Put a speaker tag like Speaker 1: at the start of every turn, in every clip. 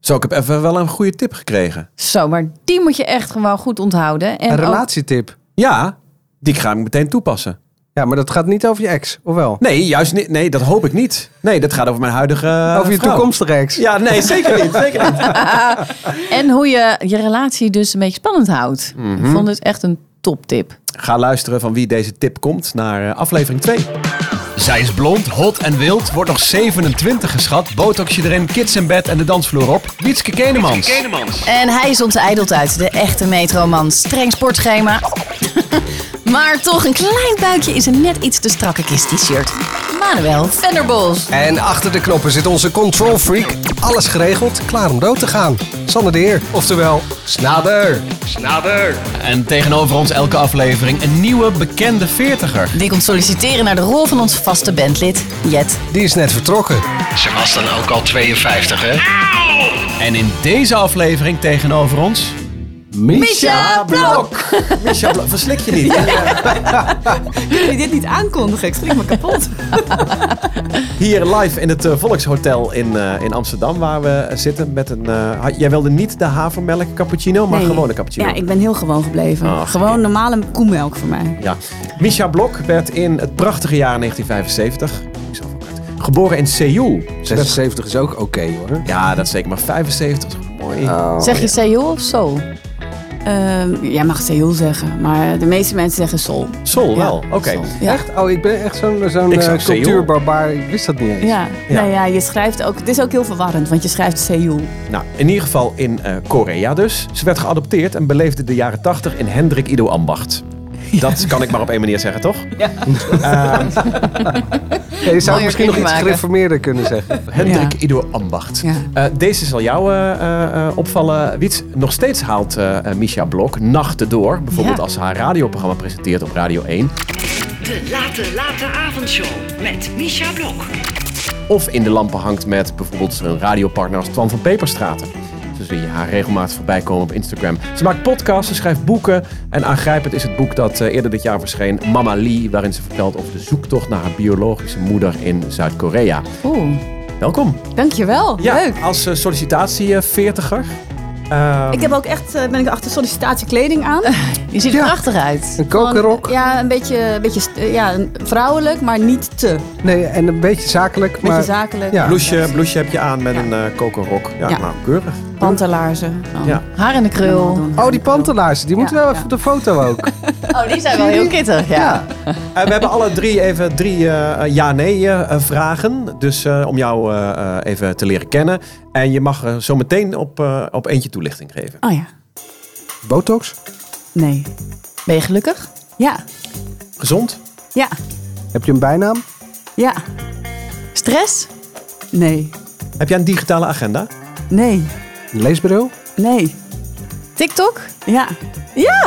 Speaker 1: Zo, ik heb even wel een goede tip gekregen.
Speaker 2: Zo, maar die moet je echt gewoon goed onthouden. En
Speaker 3: Een
Speaker 2: ook-
Speaker 3: relatietip.
Speaker 1: Ja, die ga ik meteen toepassen.
Speaker 3: Ja, maar dat gaat niet over je ex, of wel?
Speaker 1: Nee, juist niet. Nee, dat hoop ik niet. Nee, dat gaat over mijn huidige eh,
Speaker 3: over je
Speaker 1: vrouw.
Speaker 3: toekomstige ex.
Speaker 1: Ja, nee, zeker niet. Zeker niet.
Speaker 2: en hoe je je relatie dus een beetje spannend houdt. Ik vond het echt een toptip.
Speaker 1: Ga luisteren van wie deze tip komt naar eh, aflevering 2.
Speaker 4: Zij is blond, hot en wild, wordt nog 27 geschat. Botoxje erin, kids in bed en de dansvloer op. Wietske Kenemans.
Speaker 2: En hij is onze uit, de echte metroman. Streng sportschema. maar toch, een klein buikje is een net iets te strakke kist t-shirt. Manuel Venderbos.
Speaker 3: En achter de knoppen zit onze control freak. Alles geregeld, klaar om dood te gaan. Sander de Heer, oftewel Snader.
Speaker 4: En tegenover ons elke aflevering een nieuwe bekende veertiger.
Speaker 2: Die komt solliciteren naar de rol van ons vaste bandlid, Jet.
Speaker 3: Die is net vertrokken.
Speaker 4: Ze was dan ook al 52, hè? En in deze aflevering tegenover ons...
Speaker 2: Misha Blok.
Speaker 1: Michel, verslik je niet.
Speaker 5: jullie dit niet aankondigen. Ik schrik me kapot.
Speaker 1: Hier live in het eh, Volkshotel in, eh, in Amsterdam, waar we eh, zitten met een... eh, ha- jij wilde niet de havermelk cappuccino, maar
Speaker 5: Nee.
Speaker 1: gewoon een cappuccino.
Speaker 5: Ja, ik ben heel gewoon gebleven.
Speaker 1: Ach,
Speaker 5: gewoon normale koemelk voor mij.
Speaker 1: Ja. Misha Blok werd in het prachtige jaar 1975... Ik zal even kort- Geboren in Seoul. Ze is-
Speaker 3: 76 is ook oké hoor.
Speaker 1: Ja, dat zeker. Maar 75 is gewoon mooi.
Speaker 2: Zeg je Seoul of Seoul?
Speaker 5: Ehm, jij mag Seoul zeggen, maar de meeste mensen zeggen Sol.
Speaker 1: Sol
Speaker 5: Ja,
Speaker 1: wel. Oké.
Speaker 5: Seoul. Ja.
Speaker 3: Echt? Oh, ik ben echt zo'n zo'n
Speaker 1: Ik zou
Speaker 3: eh,
Speaker 1: Seoul.
Speaker 3: cultuurbarbaar. Ik wist dat niet eens.
Speaker 5: Ja.
Speaker 1: Ja.
Speaker 5: Nou ja, je schrijft ook. Het is ook heel verwarrend, want je schrijft Seoul.
Speaker 1: Nou, in ieder geval in eh, Korea dus. Ze werd geadopteerd en beleefde de jaren 80 in Hendrik Ido Ambacht. Dat kan ik maar op één manier zeggen, toch?
Speaker 3: Ja, je zou
Speaker 2: Mooier
Speaker 3: het misschien nog
Speaker 2: kunnen
Speaker 3: iets
Speaker 2: maken.
Speaker 3: gereformeerder kunnen zeggen.
Speaker 1: Hendrik Ido Ambacht.
Speaker 5: Ja.
Speaker 1: Eh, deze zal jou eh, eh, eh, opvallen, Wiets. Nog steeds haalt eh eh, Misha Blok nachten door. Bijvoorbeeld
Speaker 2: Ja.
Speaker 1: als ze haar radioprogramma presenteert op Radio 1.
Speaker 6: De late, late avondshow met Misha Blok.
Speaker 1: Of in de lampen hangt met bijvoorbeeld een radiopartner als Twan van Peperstraten. Zo zie je haar regelmatig voorbij komen op Instagram. Ze maakt podcasts, ze schrijft boeken. En aangrijpend is het boek dat eh, eerder dit jaar verscheen, Mama Lee, waarin ze vertelt over de zoektocht naar haar biologische moeder in Zuid-Korea.
Speaker 2: Oeh,
Speaker 1: Welkom.
Speaker 5: Dankjewel.
Speaker 1: Ja,
Speaker 5: Leuk.
Speaker 1: als eh, sollicitatie eh, veertiger.
Speaker 5: Ik heb ook echt, eh, ben ik achter sollicitatiekleding aan.
Speaker 2: je ziet er prachtig uit.
Speaker 3: Een kokerrok.
Speaker 5: Ja, een beetje, een beetje st- eh, ja, een- vrouwelijk, maar niet te. Beetje
Speaker 3: Nee, en een beetje zakelijk. maar...
Speaker 5: zakelijk.
Speaker 3: Ja.
Speaker 1: Blouseje, blouseje heb je aan met
Speaker 5: Ja.
Speaker 1: een eh kokerrok. Ja,
Speaker 5: Ja.
Speaker 1: nou, keurig.
Speaker 5: Pantelaarzen. Dan.
Speaker 1: Ja.
Speaker 2: Haar in de krul.
Speaker 3: Oh, die pantelaars, die moeten
Speaker 5: Ja,
Speaker 3: wel
Speaker 5: ja.
Speaker 3: even op de foto ook.
Speaker 2: Oh, die zijn wel heel kittig, ja.
Speaker 1: Eh, we hebben alle drie even drie eh, ja-nee-vragen. dus eh, om jou eh, eh, even te leren kennen. En je mag eh, zo meteen op, eh, op eentje toelichting geven.
Speaker 5: Oh ja.
Speaker 3: Botox?
Speaker 5: Nee.
Speaker 2: Ben je gelukkig?
Speaker 5: Ja.
Speaker 1: Gezond?
Speaker 5: Ja.
Speaker 3: Heb je een bijnaam?
Speaker 5: Ja.
Speaker 2: Stress?
Speaker 5: Nee.
Speaker 1: Heb jij een digitale agenda?
Speaker 5: Nee.
Speaker 3: Een leesbureau?
Speaker 5: Nee.
Speaker 2: TikTok?
Speaker 5: Ja. Ja!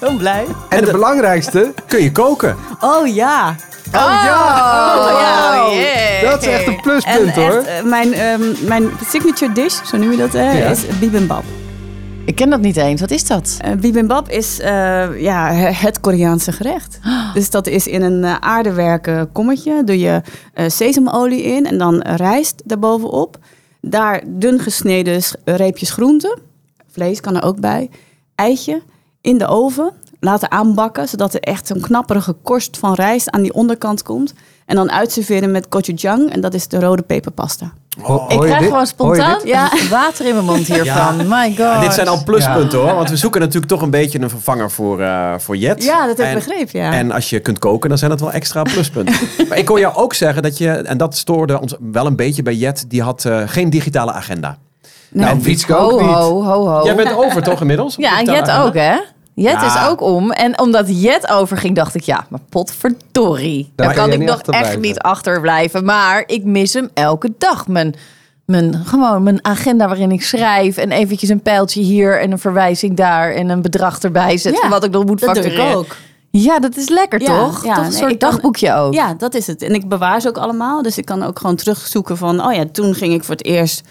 Speaker 5: Heel blij.
Speaker 3: En het belangrijkste,
Speaker 1: Kun je koken?
Speaker 5: Oh ja.
Speaker 2: Oh, ja! Oh,
Speaker 5: Wauw.
Speaker 2: jee.
Speaker 3: dat is echt een
Speaker 5: En
Speaker 3: pluspunt
Speaker 5: echt,
Speaker 3: hoor.
Speaker 5: eh, mijn, ehm, mijn signature dish, zo noem je dat, hè,
Speaker 3: Ja.
Speaker 5: is bibimbap.
Speaker 2: Ik ken dat niet eens. Wat is dat?
Speaker 5: Eh, bibimbap is eh, ja, he- het Koreaanse gerecht. Dus dat is in een eh, aardewerken kommetje. Doe je eh, sesamolie in en dan rijst daarbovenop. Daar dun gesneden s- reepjes groente. Vlees kan er ook bij. Eitje in de oven. Laten aanbakken, zodat er echt zo'n knapperige korst van rijst aan die onderkant komt. En dan uitserveren met gochujang. En dat is de rode peperpasta.
Speaker 3: Ho- hoor
Speaker 2: Ik
Speaker 3: je
Speaker 2: krijg
Speaker 3: dit?
Speaker 2: gewoon
Speaker 3: Hoor je dit?
Speaker 2: spontaan
Speaker 5: Ja.
Speaker 2: water in mijn mond hiervan. My god.
Speaker 1: Dit zijn al pluspunten hoor. Want we zoeken natuurlijk toch een beetje een vervanger voor, eh, voor Jet.
Speaker 5: Ja, dat heb ik
Speaker 1: En-
Speaker 5: begrepen, ja.
Speaker 1: En als je kunt koken, dan zijn dat wel extra pluspunten. maar ik hoor jou ook zeggen dat je, en dat stoorde ons wel een beetje bij Jet, die had eh, geen digitale agenda.
Speaker 3: Nou, Wietske ook
Speaker 2: Ho,
Speaker 3: niet.
Speaker 2: ho, ho, ho.
Speaker 1: Jij bent over toch inmiddels? op
Speaker 2: Ja, en
Speaker 1: digitale
Speaker 2: Jet
Speaker 1: agenda?
Speaker 2: ook, hè? Jet
Speaker 1: Ja.
Speaker 2: is ook om. En omdat Jet overging, dacht ik, ja, maar potverdorie.
Speaker 3: Daar
Speaker 2: Daar,
Speaker 3: kun
Speaker 2: kan
Speaker 3: je
Speaker 2: ik
Speaker 3: niet
Speaker 2: nog echt
Speaker 3: achterblijven.
Speaker 2: niet achterblijven. Maar ik mis hem elke dag. Mijn, mijn, gewoon mijn agenda waarin ik schrijf. En eventjes een pijltje hier en een verwijzing daar. En een bedrag erbij zetten.
Speaker 5: Ja,
Speaker 2: wat ik nog moet
Speaker 5: dat doe
Speaker 2: factureren.
Speaker 5: ik ook.
Speaker 2: Ja, dat is lekker,
Speaker 5: Ja,
Speaker 2: toch?
Speaker 5: ja,
Speaker 2: toch een
Speaker 5: nee,
Speaker 2: soort
Speaker 5: ik kan-
Speaker 2: dagboekje ook.
Speaker 5: Ja, dat is het. En ik bewaar ze ook allemaal. Dus ik kan ook gewoon terugzoeken van... oh ja, toen ging ik voor het eerst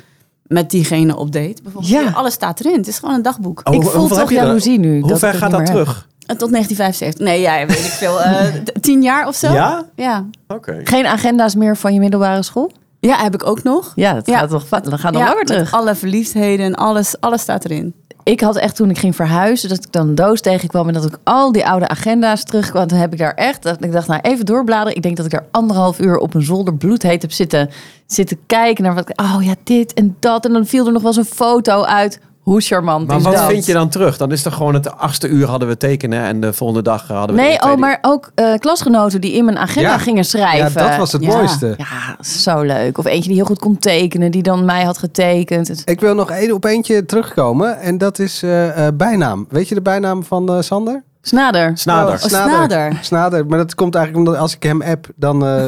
Speaker 5: met diegene op date. Bijvoorbeeld.
Speaker 2: Ja.
Speaker 5: Ja, Alles staat erin. Het is gewoon een dagboek.
Speaker 1: Oh,
Speaker 2: Ik
Speaker 1: hoe-
Speaker 2: voel
Speaker 1: hoeveel
Speaker 2: toch
Speaker 1: heb je er?
Speaker 2: jaloezie nu,
Speaker 1: Hoe
Speaker 2: dat
Speaker 1: ver
Speaker 2: ik het
Speaker 1: gaat
Speaker 2: niet
Speaker 1: dat
Speaker 2: meer heb.
Speaker 1: terug?
Speaker 5: Eh, Tot 1975. Nee, ja, weet ik veel. eh, t- tien jaar of zo.
Speaker 1: Ja?
Speaker 5: Ja.
Speaker 1: Oké.
Speaker 2: Geen agenda's meer van je middelbare school?
Speaker 5: Ja, heb ik ook nog.
Speaker 2: Ja, dat
Speaker 5: Ja.
Speaker 2: gaat nog, dat gaat nog
Speaker 5: Ja,
Speaker 2: langer
Speaker 5: met
Speaker 2: terug.
Speaker 5: Alle verliefdheden en alles, alles staat erin.
Speaker 2: Ik had echt toen ik ging verhuizen, dat ik dan een doos tegenkwam en dat ik al die oude agenda's terugkwam. Toen heb ik daar echt, dat ik dacht, nou even doorbladeren. Ik denk dat ik daar anderhalf uur op een zolder bloedheet heb zitten, zitten kijken naar wat ik, oh ja, dit en dat. En dan viel er nog wel eens een foto uit. Hoe charmant
Speaker 1: Maar
Speaker 2: is
Speaker 1: wat
Speaker 2: dat?
Speaker 1: vind je dan terug? Dan is toch gewoon het achtste uur hadden we tekenen en de volgende dag hadden we... de
Speaker 2: Nee, oh,
Speaker 1: tweede-
Speaker 2: maar ook eh, klasgenoten die in mijn agenda
Speaker 3: Ja.
Speaker 2: gingen schrijven.
Speaker 3: Ja, dat was het mooiste.
Speaker 2: Ja, zo leuk. Of eentje die heel goed kon tekenen, die dan mij had getekend. Het-
Speaker 3: Ik wil nog één op eentje terugkomen. En dat is eh, eh, bijnaam. Weet je de bijnaam van eh, Sander?
Speaker 2: Snader.
Speaker 1: Snader.
Speaker 3: Oh,
Speaker 5: Snader.
Speaker 3: Snader. Maar dat komt eigenlijk omdat als ik hem app, dan... eh,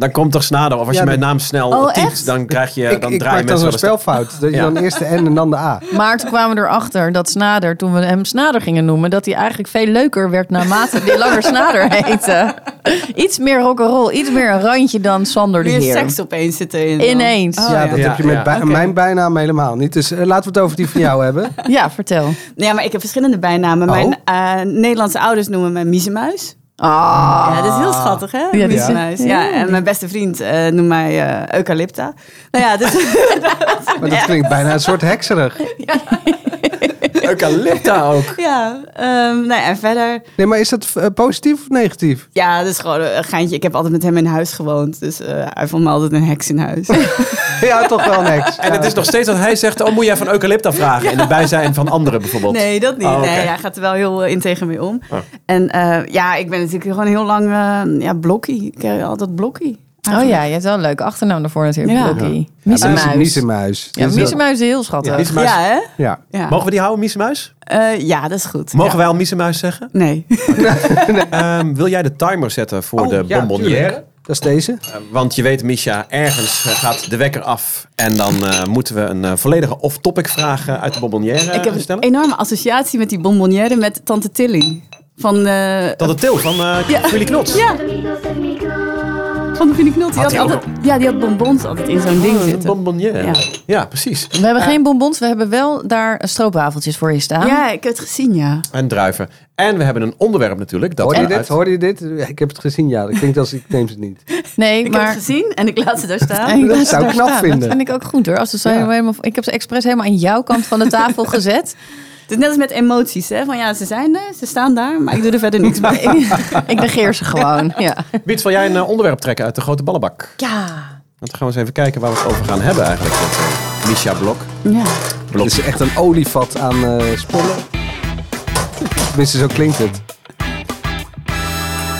Speaker 1: Dan komt toch Snader. Of als
Speaker 3: Ja,
Speaker 1: je mijn
Speaker 3: dan-
Speaker 1: naam snel
Speaker 2: Oh,
Speaker 1: typt,
Speaker 2: echt?
Speaker 1: dan krijg je...
Speaker 3: ik
Speaker 1: dan
Speaker 3: ik
Speaker 1: draai je
Speaker 3: maak dan
Speaker 1: mensen
Speaker 3: zo'n
Speaker 1: wel eens-
Speaker 3: spelfout. Dat je
Speaker 1: Ja.
Speaker 3: dan eerst de N en dan de A.
Speaker 2: Maar toen kwamen we erachter dat Snader, toen we hem Snader gingen noemen, dat hij eigenlijk veel leuker werd naarmate die langer Snader heette. Iets meer rock'n'roll, iets meer een randje dan Sander de
Speaker 5: Meer
Speaker 2: Heer.
Speaker 5: seks opeens zit erin.
Speaker 2: Ineens.
Speaker 5: Oh,
Speaker 3: ja,
Speaker 5: ja,
Speaker 3: dat
Speaker 1: Ja,
Speaker 3: heb je met
Speaker 1: ja.
Speaker 3: bij-
Speaker 5: Oké.
Speaker 3: mijn bijnaam helemaal niet. Dus eh, laten we het over die van jou hebben.
Speaker 2: Ja, vertel.
Speaker 5: Ja, maar ik heb verschillende bijnamen.
Speaker 3: Oh.
Speaker 5: Mijn eh, Nederlandse ouders noemen mij Miezemuis.
Speaker 2: Ah.
Speaker 5: Ja, dat is heel schattig, hè?
Speaker 2: die-
Speaker 5: Miezemuis. Ja.
Speaker 2: ja,
Speaker 5: en mijn beste vriend eh, noemt mij eh, Eucalypta. Nou ja, dus,
Speaker 3: Maar dat klinkt bijna een soort hekserig.
Speaker 1: Eucalypta ook.
Speaker 5: ja ehm, nou ja, en verder...
Speaker 3: Nee, maar is dat eh, positief of negatief?
Speaker 5: Ja, dat is gewoon een geintje. Ik heb altijd met hem in huis gewoond. Dus eh, hij vond me altijd een heks in huis.
Speaker 1: Oh,
Speaker 3: Ja, toch wel een heks.
Speaker 1: En het is nog steeds dat hij zegt, oh moet jij van Eucalypta vragen? In het bijzijn van anderen bijvoorbeeld.
Speaker 5: Nee, dat niet.
Speaker 1: Oh, oké. Oh.
Speaker 5: Nee, hij gaat er wel heel eh, integer mee om. En eh, ja, ik ben natuurlijk gewoon heel lang eh, ja, blokkie. Ik heb altijd blokkie.
Speaker 2: Oh ja, je hebt wel een leuke achternaam daarvoor natuurlijk,
Speaker 5: Ja.
Speaker 2: Blokkie.
Speaker 3: Ja,
Speaker 2: Miezemuis. Ja,
Speaker 3: Miezemuis. Dus dat-
Speaker 2: Miezemuis is heel
Speaker 1: Ja,
Speaker 2: schattig.
Speaker 1: Miezemuis.
Speaker 5: Ja, hè?
Speaker 3: Ja.
Speaker 5: Ja.
Speaker 1: Mogen we die houden, Miesemuis?
Speaker 5: Eh, ja, dat is goed.
Speaker 1: Mogen
Speaker 5: Ja.
Speaker 1: wij Eh, al Miesemuis zeggen?
Speaker 5: Nee.
Speaker 1: Ehm, wil jij de timer zetten voor
Speaker 3: Oh,
Speaker 1: de
Speaker 3: ja,
Speaker 1: bonbonnière?
Speaker 3: tuurlijk. Dat is deze.
Speaker 1: Eh, want je weet, Misha, ergens eh, gaat de wekker af. En dan eh, moeten we een eh, volledige off-topic vraag eh, uit de bonbonnière
Speaker 5: Ik heb een
Speaker 1: stellen.
Speaker 5: enorme associatie met die bonbonnière met Tante Tilly. Van, eh,
Speaker 1: Dat de til van eh Willy Knots.
Speaker 5: Ja. Van de Vinnie Knot. Die
Speaker 1: Had
Speaker 5: had,
Speaker 1: hij ook
Speaker 5: altijd, ja, die had bonbons altijd in zo'n ding
Speaker 1: Oh, een
Speaker 5: zitten.
Speaker 1: bonbonnière. Ja.
Speaker 5: Ja.
Speaker 1: precies.
Speaker 2: We hebben geen bonbons, we hebben wel daar stroopwafeltjes voor je staan.
Speaker 5: Ja, ik heb het gezien, ja.
Speaker 1: En druiven. En we hebben een onderwerp natuurlijk. Dat
Speaker 3: Hoorde je
Speaker 1: we
Speaker 3: dit?
Speaker 1: uit-
Speaker 3: Hoorde je dit? Ja, Ik heb het gezien, ja. Dat klinkt als ik neem het niet.
Speaker 2: Nee,
Speaker 5: Ik
Speaker 2: maar...
Speaker 5: heb het gezien en ik laat ze daar
Speaker 2: En
Speaker 5: staan.
Speaker 2: ik
Speaker 3: Dat
Speaker 2: laat ze
Speaker 3: zou ik
Speaker 2: daar
Speaker 3: knap
Speaker 2: staan.
Speaker 3: vinden.
Speaker 2: Dat vind ik ook goed hoor. Als ze zo
Speaker 3: Ja.
Speaker 2: helemaal, ik heb ze expres helemaal aan jouw kant van de tafel gezet.
Speaker 5: Het is net als met emoties, hè. Van ja, ze zijn er, ze staan daar, maar ik doe er verder niks mee.
Speaker 2: ik negeer ze gewoon. Ja.
Speaker 1: Wiet, wil jij een eh, onderwerp trekken uit de grote ballenbak?
Speaker 2: ja.
Speaker 1: Want dan gaan we eens even kijken waar we het over gaan hebben eigenlijk. Met, eh, Misha Blok.
Speaker 5: Ja.
Speaker 3: Het is echt een olievat aan eh, spullen. Tenminste, zo klinkt het.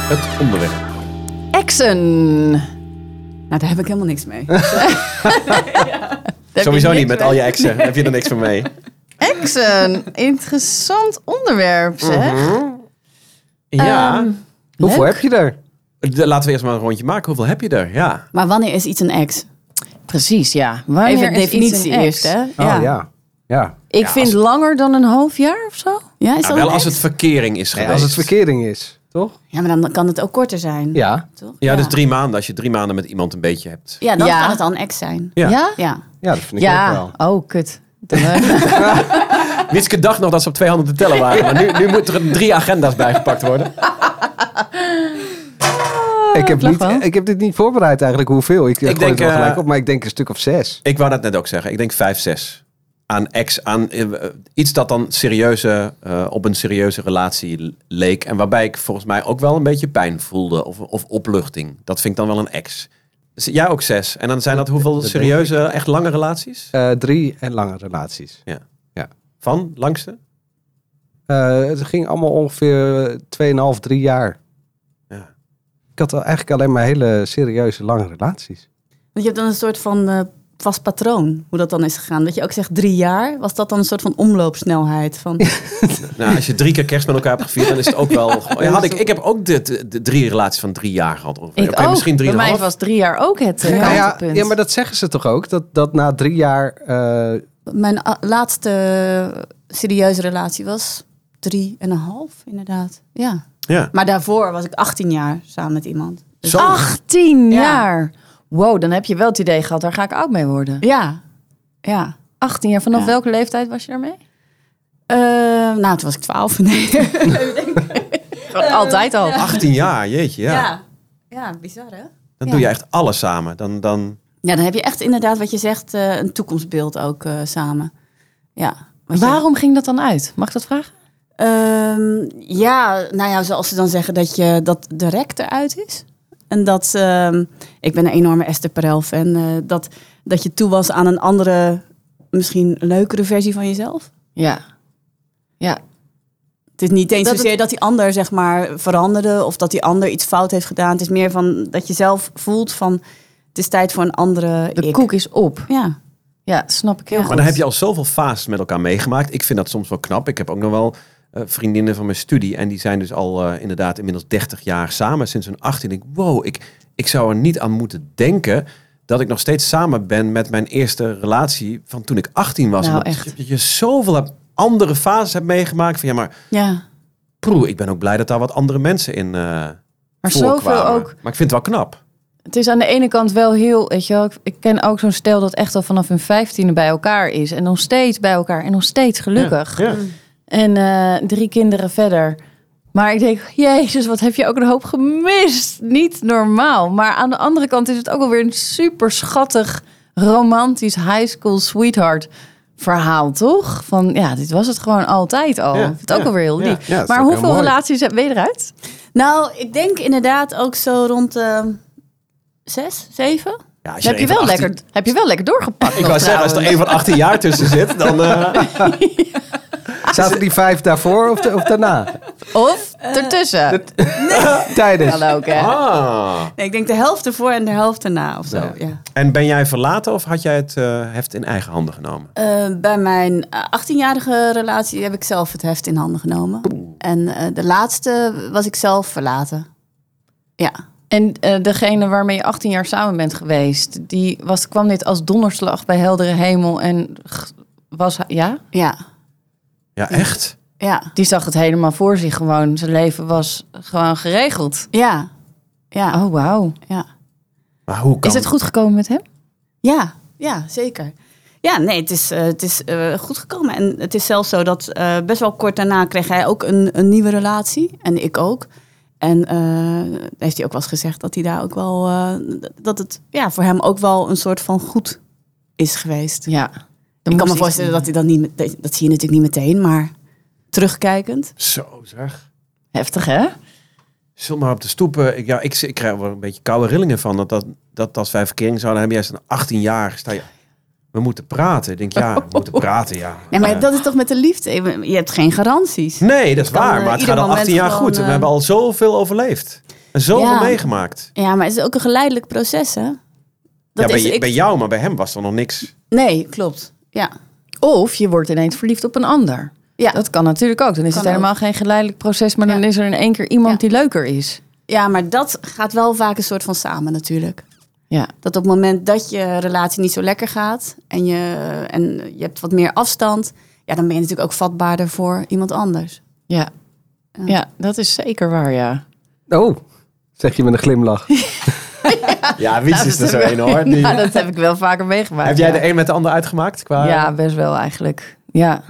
Speaker 1: Het onderwerp.
Speaker 2: Exen.
Speaker 5: Nou, daar heb ik helemaal niks mee.
Speaker 2: Daar heb je
Speaker 1: Sowieso
Speaker 2: niks
Speaker 1: niet met
Speaker 2: mee.
Speaker 1: al je exen. Heb je er niks van mee?
Speaker 2: Exen. Interessant onderwerp zeg.
Speaker 1: Mhm. Ja.
Speaker 2: Ehm,
Speaker 3: Hoeveel
Speaker 2: Leuk.
Speaker 3: heb je er?
Speaker 1: De- laten we eerst maar een rondje maken. Hoeveel heb je er? Ja.
Speaker 5: Maar wanneer is iets een ex?
Speaker 2: Precies, ja. Wanneer
Speaker 5: Even de
Speaker 2: is iets een
Speaker 5: definitie
Speaker 2: ex?
Speaker 5: eerst, hè.
Speaker 3: Oh, ja. ja.
Speaker 2: Ik
Speaker 1: Ja,
Speaker 2: vind
Speaker 1: als-
Speaker 2: langer dan een half jaar of zo.
Speaker 5: Ja, is dat
Speaker 1: Nou, wel
Speaker 5: een
Speaker 1: als
Speaker 5: ex?
Speaker 1: het verkering is geweest.
Speaker 3: Als het verkering is, toch?
Speaker 5: ja, maar dan kan het ook korter zijn.
Speaker 3: Ja.
Speaker 5: Toch?
Speaker 1: Ja, dus drie maanden. Als je drie maanden met iemand een beetje hebt.
Speaker 5: Ja, dan
Speaker 2: Ja.
Speaker 5: kan het al een ex zijn.
Speaker 1: Ja.
Speaker 2: Ja?
Speaker 5: Ja.
Speaker 3: Ja, dat vind ik ook wel.
Speaker 2: Oh, kut. Dan, eh,
Speaker 1: Witske dacht nog dat ze op twee handen te tellen waren. Maar nu, nu moet er drie agenda's bijgepakt worden.
Speaker 3: ik, heb
Speaker 2: lag
Speaker 3: niet,
Speaker 2: Oh, wel.
Speaker 3: ik heb dit niet voorbereid eigenlijk hoeveel. Ik, ik denk
Speaker 1: denk,
Speaker 3: het wel
Speaker 1: eh,
Speaker 3: gelijk op, maar ik denk een stuk of zes.
Speaker 1: Ik wou dat net ook zeggen. Ik denk vijf, zes. Aan ex, aan eh, eh, iets dat dan serieuze, eh, op een serieuze relatie l- leek. En waarbij ik volgens mij ook wel een beetje pijn voelde. Of, of opluchting. Dat vind ik dan wel een ex. Dus jij ook zes. En dan zijn dat hoeveel
Speaker 3: dat denk ik.
Speaker 1: serieuze, echt lange relaties?
Speaker 3: Eh, drie en lange relaties.
Speaker 1: Van langste?
Speaker 3: Eh, het ging allemaal ongeveer eh, 2,5, 3 jaar.
Speaker 1: Ja.
Speaker 3: Ik had al- eigenlijk alleen maar hele serieuze lange relaties.
Speaker 5: Want je hebt dan een soort van eh, vast patroon, hoe dat dan is gegaan. Dat je ook zegt drie jaar, was dat dan een soort van omloopsnelheid? Van,
Speaker 1: Nou, als je drie keer kerst met elkaar hebt gevierd, dan is het ook wel. Ja, had ik, ik heb ook de, de, de drie relaties van drie jaar gehad. ongeveer.
Speaker 2: dus ik
Speaker 1: Oké,
Speaker 2: ook.
Speaker 1: Misschien drie
Speaker 2: Bij mij
Speaker 1: half.
Speaker 2: was drie jaar ook het eh,
Speaker 3: Nou ja,
Speaker 2: kantelpunt.
Speaker 3: ja, maar dat zeggen ze toch ook? Dat, dat na drie jaar... eh,
Speaker 5: mijn a- laatste serieuze relatie was drie en een half, inderdaad. Ja.
Speaker 1: Ja.
Speaker 5: Maar daarvoor was ik 18 jaar samen met iemand. Dus-
Speaker 1: Zo.
Speaker 2: 18
Speaker 5: Ja.
Speaker 2: jaar. Wow, dan heb je wel het idee gehad, daar ga ik oud mee worden.
Speaker 5: Ja, ja.
Speaker 2: 18 jaar, vanaf
Speaker 5: Ja.
Speaker 2: welke leeftijd was je daarmee?
Speaker 5: Eh, nou, toen was ik 12. Nee. Eh,
Speaker 2: Altijd al.
Speaker 1: 18 jaar, jeetje. Ja.
Speaker 5: ja, bizar hè?
Speaker 1: Dan doe je echt alles samen. Dan, dan,
Speaker 5: Ja, dan heb je echt inderdaad wat je zegt, eh, een toekomstbeeld ook eh, samen. Ja. Wat je-
Speaker 2: Waarom ging dat dan uit? Mag ik dat vragen?
Speaker 5: Ehm, ja, nou ja, zoals ze dan zeggen dat, je, dat de rek eruit is. En dat, ehm, ik ben een enorme Esther Perel fan, eh, dat, dat je toe was aan een andere, misschien leukere versie van jezelf.
Speaker 2: Ja. Ja.
Speaker 5: Het is niet eens
Speaker 2: Dat het-
Speaker 5: zozeer dat die ander zeg maar veranderde of dat die ander iets fout heeft gedaan. Het is meer van dat je zelf voelt van het is tijd voor een andere
Speaker 2: De
Speaker 5: ik.
Speaker 2: koek is op.
Speaker 5: Ja,
Speaker 2: Ja, snap ik heel
Speaker 5: Ja.
Speaker 2: goed.
Speaker 1: Maar dan heb je al zoveel fases met elkaar meegemaakt. Ik vind dat soms wel knap. Ik heb ook nog wel eh, vriendinnen van mijn studie. En die zijn dus al eh, inderdaad inmiddels 30 jaar samen. Sinds hun 18. Ik, wow, ik, ik zou er niet aan moeten denken dat ik nog steeds samen ben met mijn eerste relatie van toen ik 18 was.
Speaker 2: Nou,
Speaker 1: Omdat
Speaker 2: echt.
Speaker 1: je- Dat je zoveel hebt- andere fases hebt meegemaakt. Van ja, maar
Speaker 5: ja.
Speaker 1: proe, ik ben ook blij dat daar wat andere mensen in eh
Speaker 2: maar zoveel
Speaker 1: voorkwamen.
Speaker 2: ook.
Speaker 1: Maar ik vind het wel knap.
Speaker 2: Het is aan de ene kant wel heel, weet je wel, ik- ik ken ook zo'n stel dat echt al vanaf hun vijftiende bij elkaar is. En nog steeds bij elkaar en nog steeds gelukkig.
Speaker 1: Ja.
Speaker 2: En eh, drie kinderen verder. Maar ik denk, jezus, wat heb je ook een hoop gemist. Niet normaal. Maar aan de andere kant is het ook alweer een super schattig, romantisch high school sweetheart verhaal, toch? Van ja, dit was het gewoon altijd al.
Speaker 1: Ja,
Speaker 2: Ik vind het ook
Speaker 1: ja,
Speaker 2: alweer heel
Speaker 1: ja.
Speaker 2: lief.
Speaker 1: Ja, het is
Speaker 2: maar
Speaker 1: ook heel
Speaker 2: hoeveel
Speaker 1: mooi.
Speaker 2: relaties heb ben je eruit?
Speaker 5: Nou, ik denk inderdaad ook zo rond eh, zes, zeven.
Speaker 1: Ja, als
Speaker 2: Heb
Speaker 1: er
Speaker 2: je,
Speaker 1: een van
Speaker 2: wel
Speaker 1: 18
Speaker 2: lekker, heb je wel lekker doorgepakt.
Speaker 1: Ik
Speaker 2: nog
Speaker 1: wou zeggen, als er
Speaker 2: trouwens.
Speaker 1: een van 18 jaar tussen zit, dan... eh,
Speaker 2: Ah,
Speaker 3: Zaten die vijf daarvoor of, da- of daarna?
Speaker 2: Of ertussen.
Speaker 3: Tijdens.
Speaker 2: Kan ook, hè?
Speaker 1: ah.
Speaker 5: Nee, ik denk de helft ervoor en de helft erna of zo.
Speaker 1: Ja.
Speaker 5: Ja.
Speaker 1: En ben jij verlaten of had jij het eh, heft in eigen handen genomen?
Speaker 5: Eh, bij mijn eh, 18-jarige relatie heb ik zelf het heft in handen genomen. En eh, de laatste was ik zelf verlaten. Ja.
Speaker 2: En eh, degene waarmee je 18 jaar samen bent geweest, die was, kwam dit als donderslag bij heldere hemel en g- was, ja,
Speaker 5: Ja.
Speaker 1: Ja, echt?
Speaker 5: Ja.
Speaker 2: die zag het helemaal voor zich gewoon. Zijn leven was gewoon geregeld.
Speaker 5: Ja. Ja.
Speaker 2: Oh, wauw.
Speaker 5: Ja.
Speaker 1: Maar hoe kan
Speaker 2: Is het goed gekomen met hem?
Speaker 5: Ja, ja, zeker. Ja, nee, het is, eh, het is eh, goed gekomen. En het is zelfs zo dat eh, best wel kort daarna kreeg hij ook een, een nieuwe relatie. En ik ook. En eh, heeft hij ook wel eens gezegd dat hij daar ook wel... eh, dat het ja, voor hem ook wel een soort van goed is geweest.
Speaker 2: Ja. Dan moest
Speaker 5: ik kan me
Speaker 2: iets-
Speaker 5: voorstellen dat hij dat niet... met- Dat, dat zie je natuurlijk niet meteen, maar terugkijkend.
Speaker 1: Zo zeg.
Speaker 2: Heftig, hè?
Speaker 1: Zul maar op de stoepen. Ik, ja, ik, ik krijg wel een beetje koude rillingen van. Dat, dat, dat als wij verkering zouden hebben, juist een 18 jaar sta je... We moeten praten. Ik denk, ja, we moeten praten, ja.
Speaker 5: Nee,
Speaker 1: Eh,
Speaker 5: maar dat is toch met de liefde. Je hebt geen garanties.
Speaker 1: nee, dat is
Speaker 5: kan,
Speaker 1: waar.
Speaker 5: eh,
Speaker 1: Maar het
Speaker 5: ieder
Speaker 1: gaat al
Speaker 5: moment
Speaker 1: 18 jaar
Speaker 5: gewoon,
Speaker 1: goed. En we
Speaker 5: eh,
Speaker 1: hebben al zoveel overleefd. En zoveel
Speaker 5: Ja.
Speaker 1: meegemaakt.
Speaker 5: Ja, maar het is ook een geleidelijk proces, hè?
Speaker 1: Ja, bij,
Speaker 5: is-
Speaker 1: je-
Speaker 5: ik-
Speaker 1: bij jou, maar bij hem was er nog niks.
Speaker 5: Nee, klopt. Ja.
Speaker 2: Of je wordt ineens verliefd op een ander.
Speaker 5: Ja.
Speaker 2: Dat kan natuurlijk ook. Dan is
Speaker 5: Kan
Speaker 2: het helemaal geen geleidelijk proces, maar dan
Speaker 5: Ja.
Speaker 2: is er in één keer iemand
Speaker 5: Ja.
Speaker 2: die leuker is.
Speaker 5: Ja, maar dat gaat wel vaak een soort van samen natuurlijk.
Speaker 2: Ja.
Speaker 5: Dat op het moment dat je relatie niet zo lekker gaat en je, en je hebt wat meer afstand, ja, dan ben je natuurlijk ook vatbaarder voor iemand anders.
Speaker 2: Ja. Ja, dat is zeker waar, ja. nou.
Speaker 3: Oh, zeg je met een glimlach.
Speaker 1: Ja, wie is er zo een hoor. Die-
Speaker 2: Nou, dat heb ik wel vaker meegemaakt.
Speaker 1: Heb jij
Speaker 2: ja.
Speaker 1: de een met de ander uitgemaakt? Qua...
Speaker 2: Ja, best wel eigenlijk. Ja.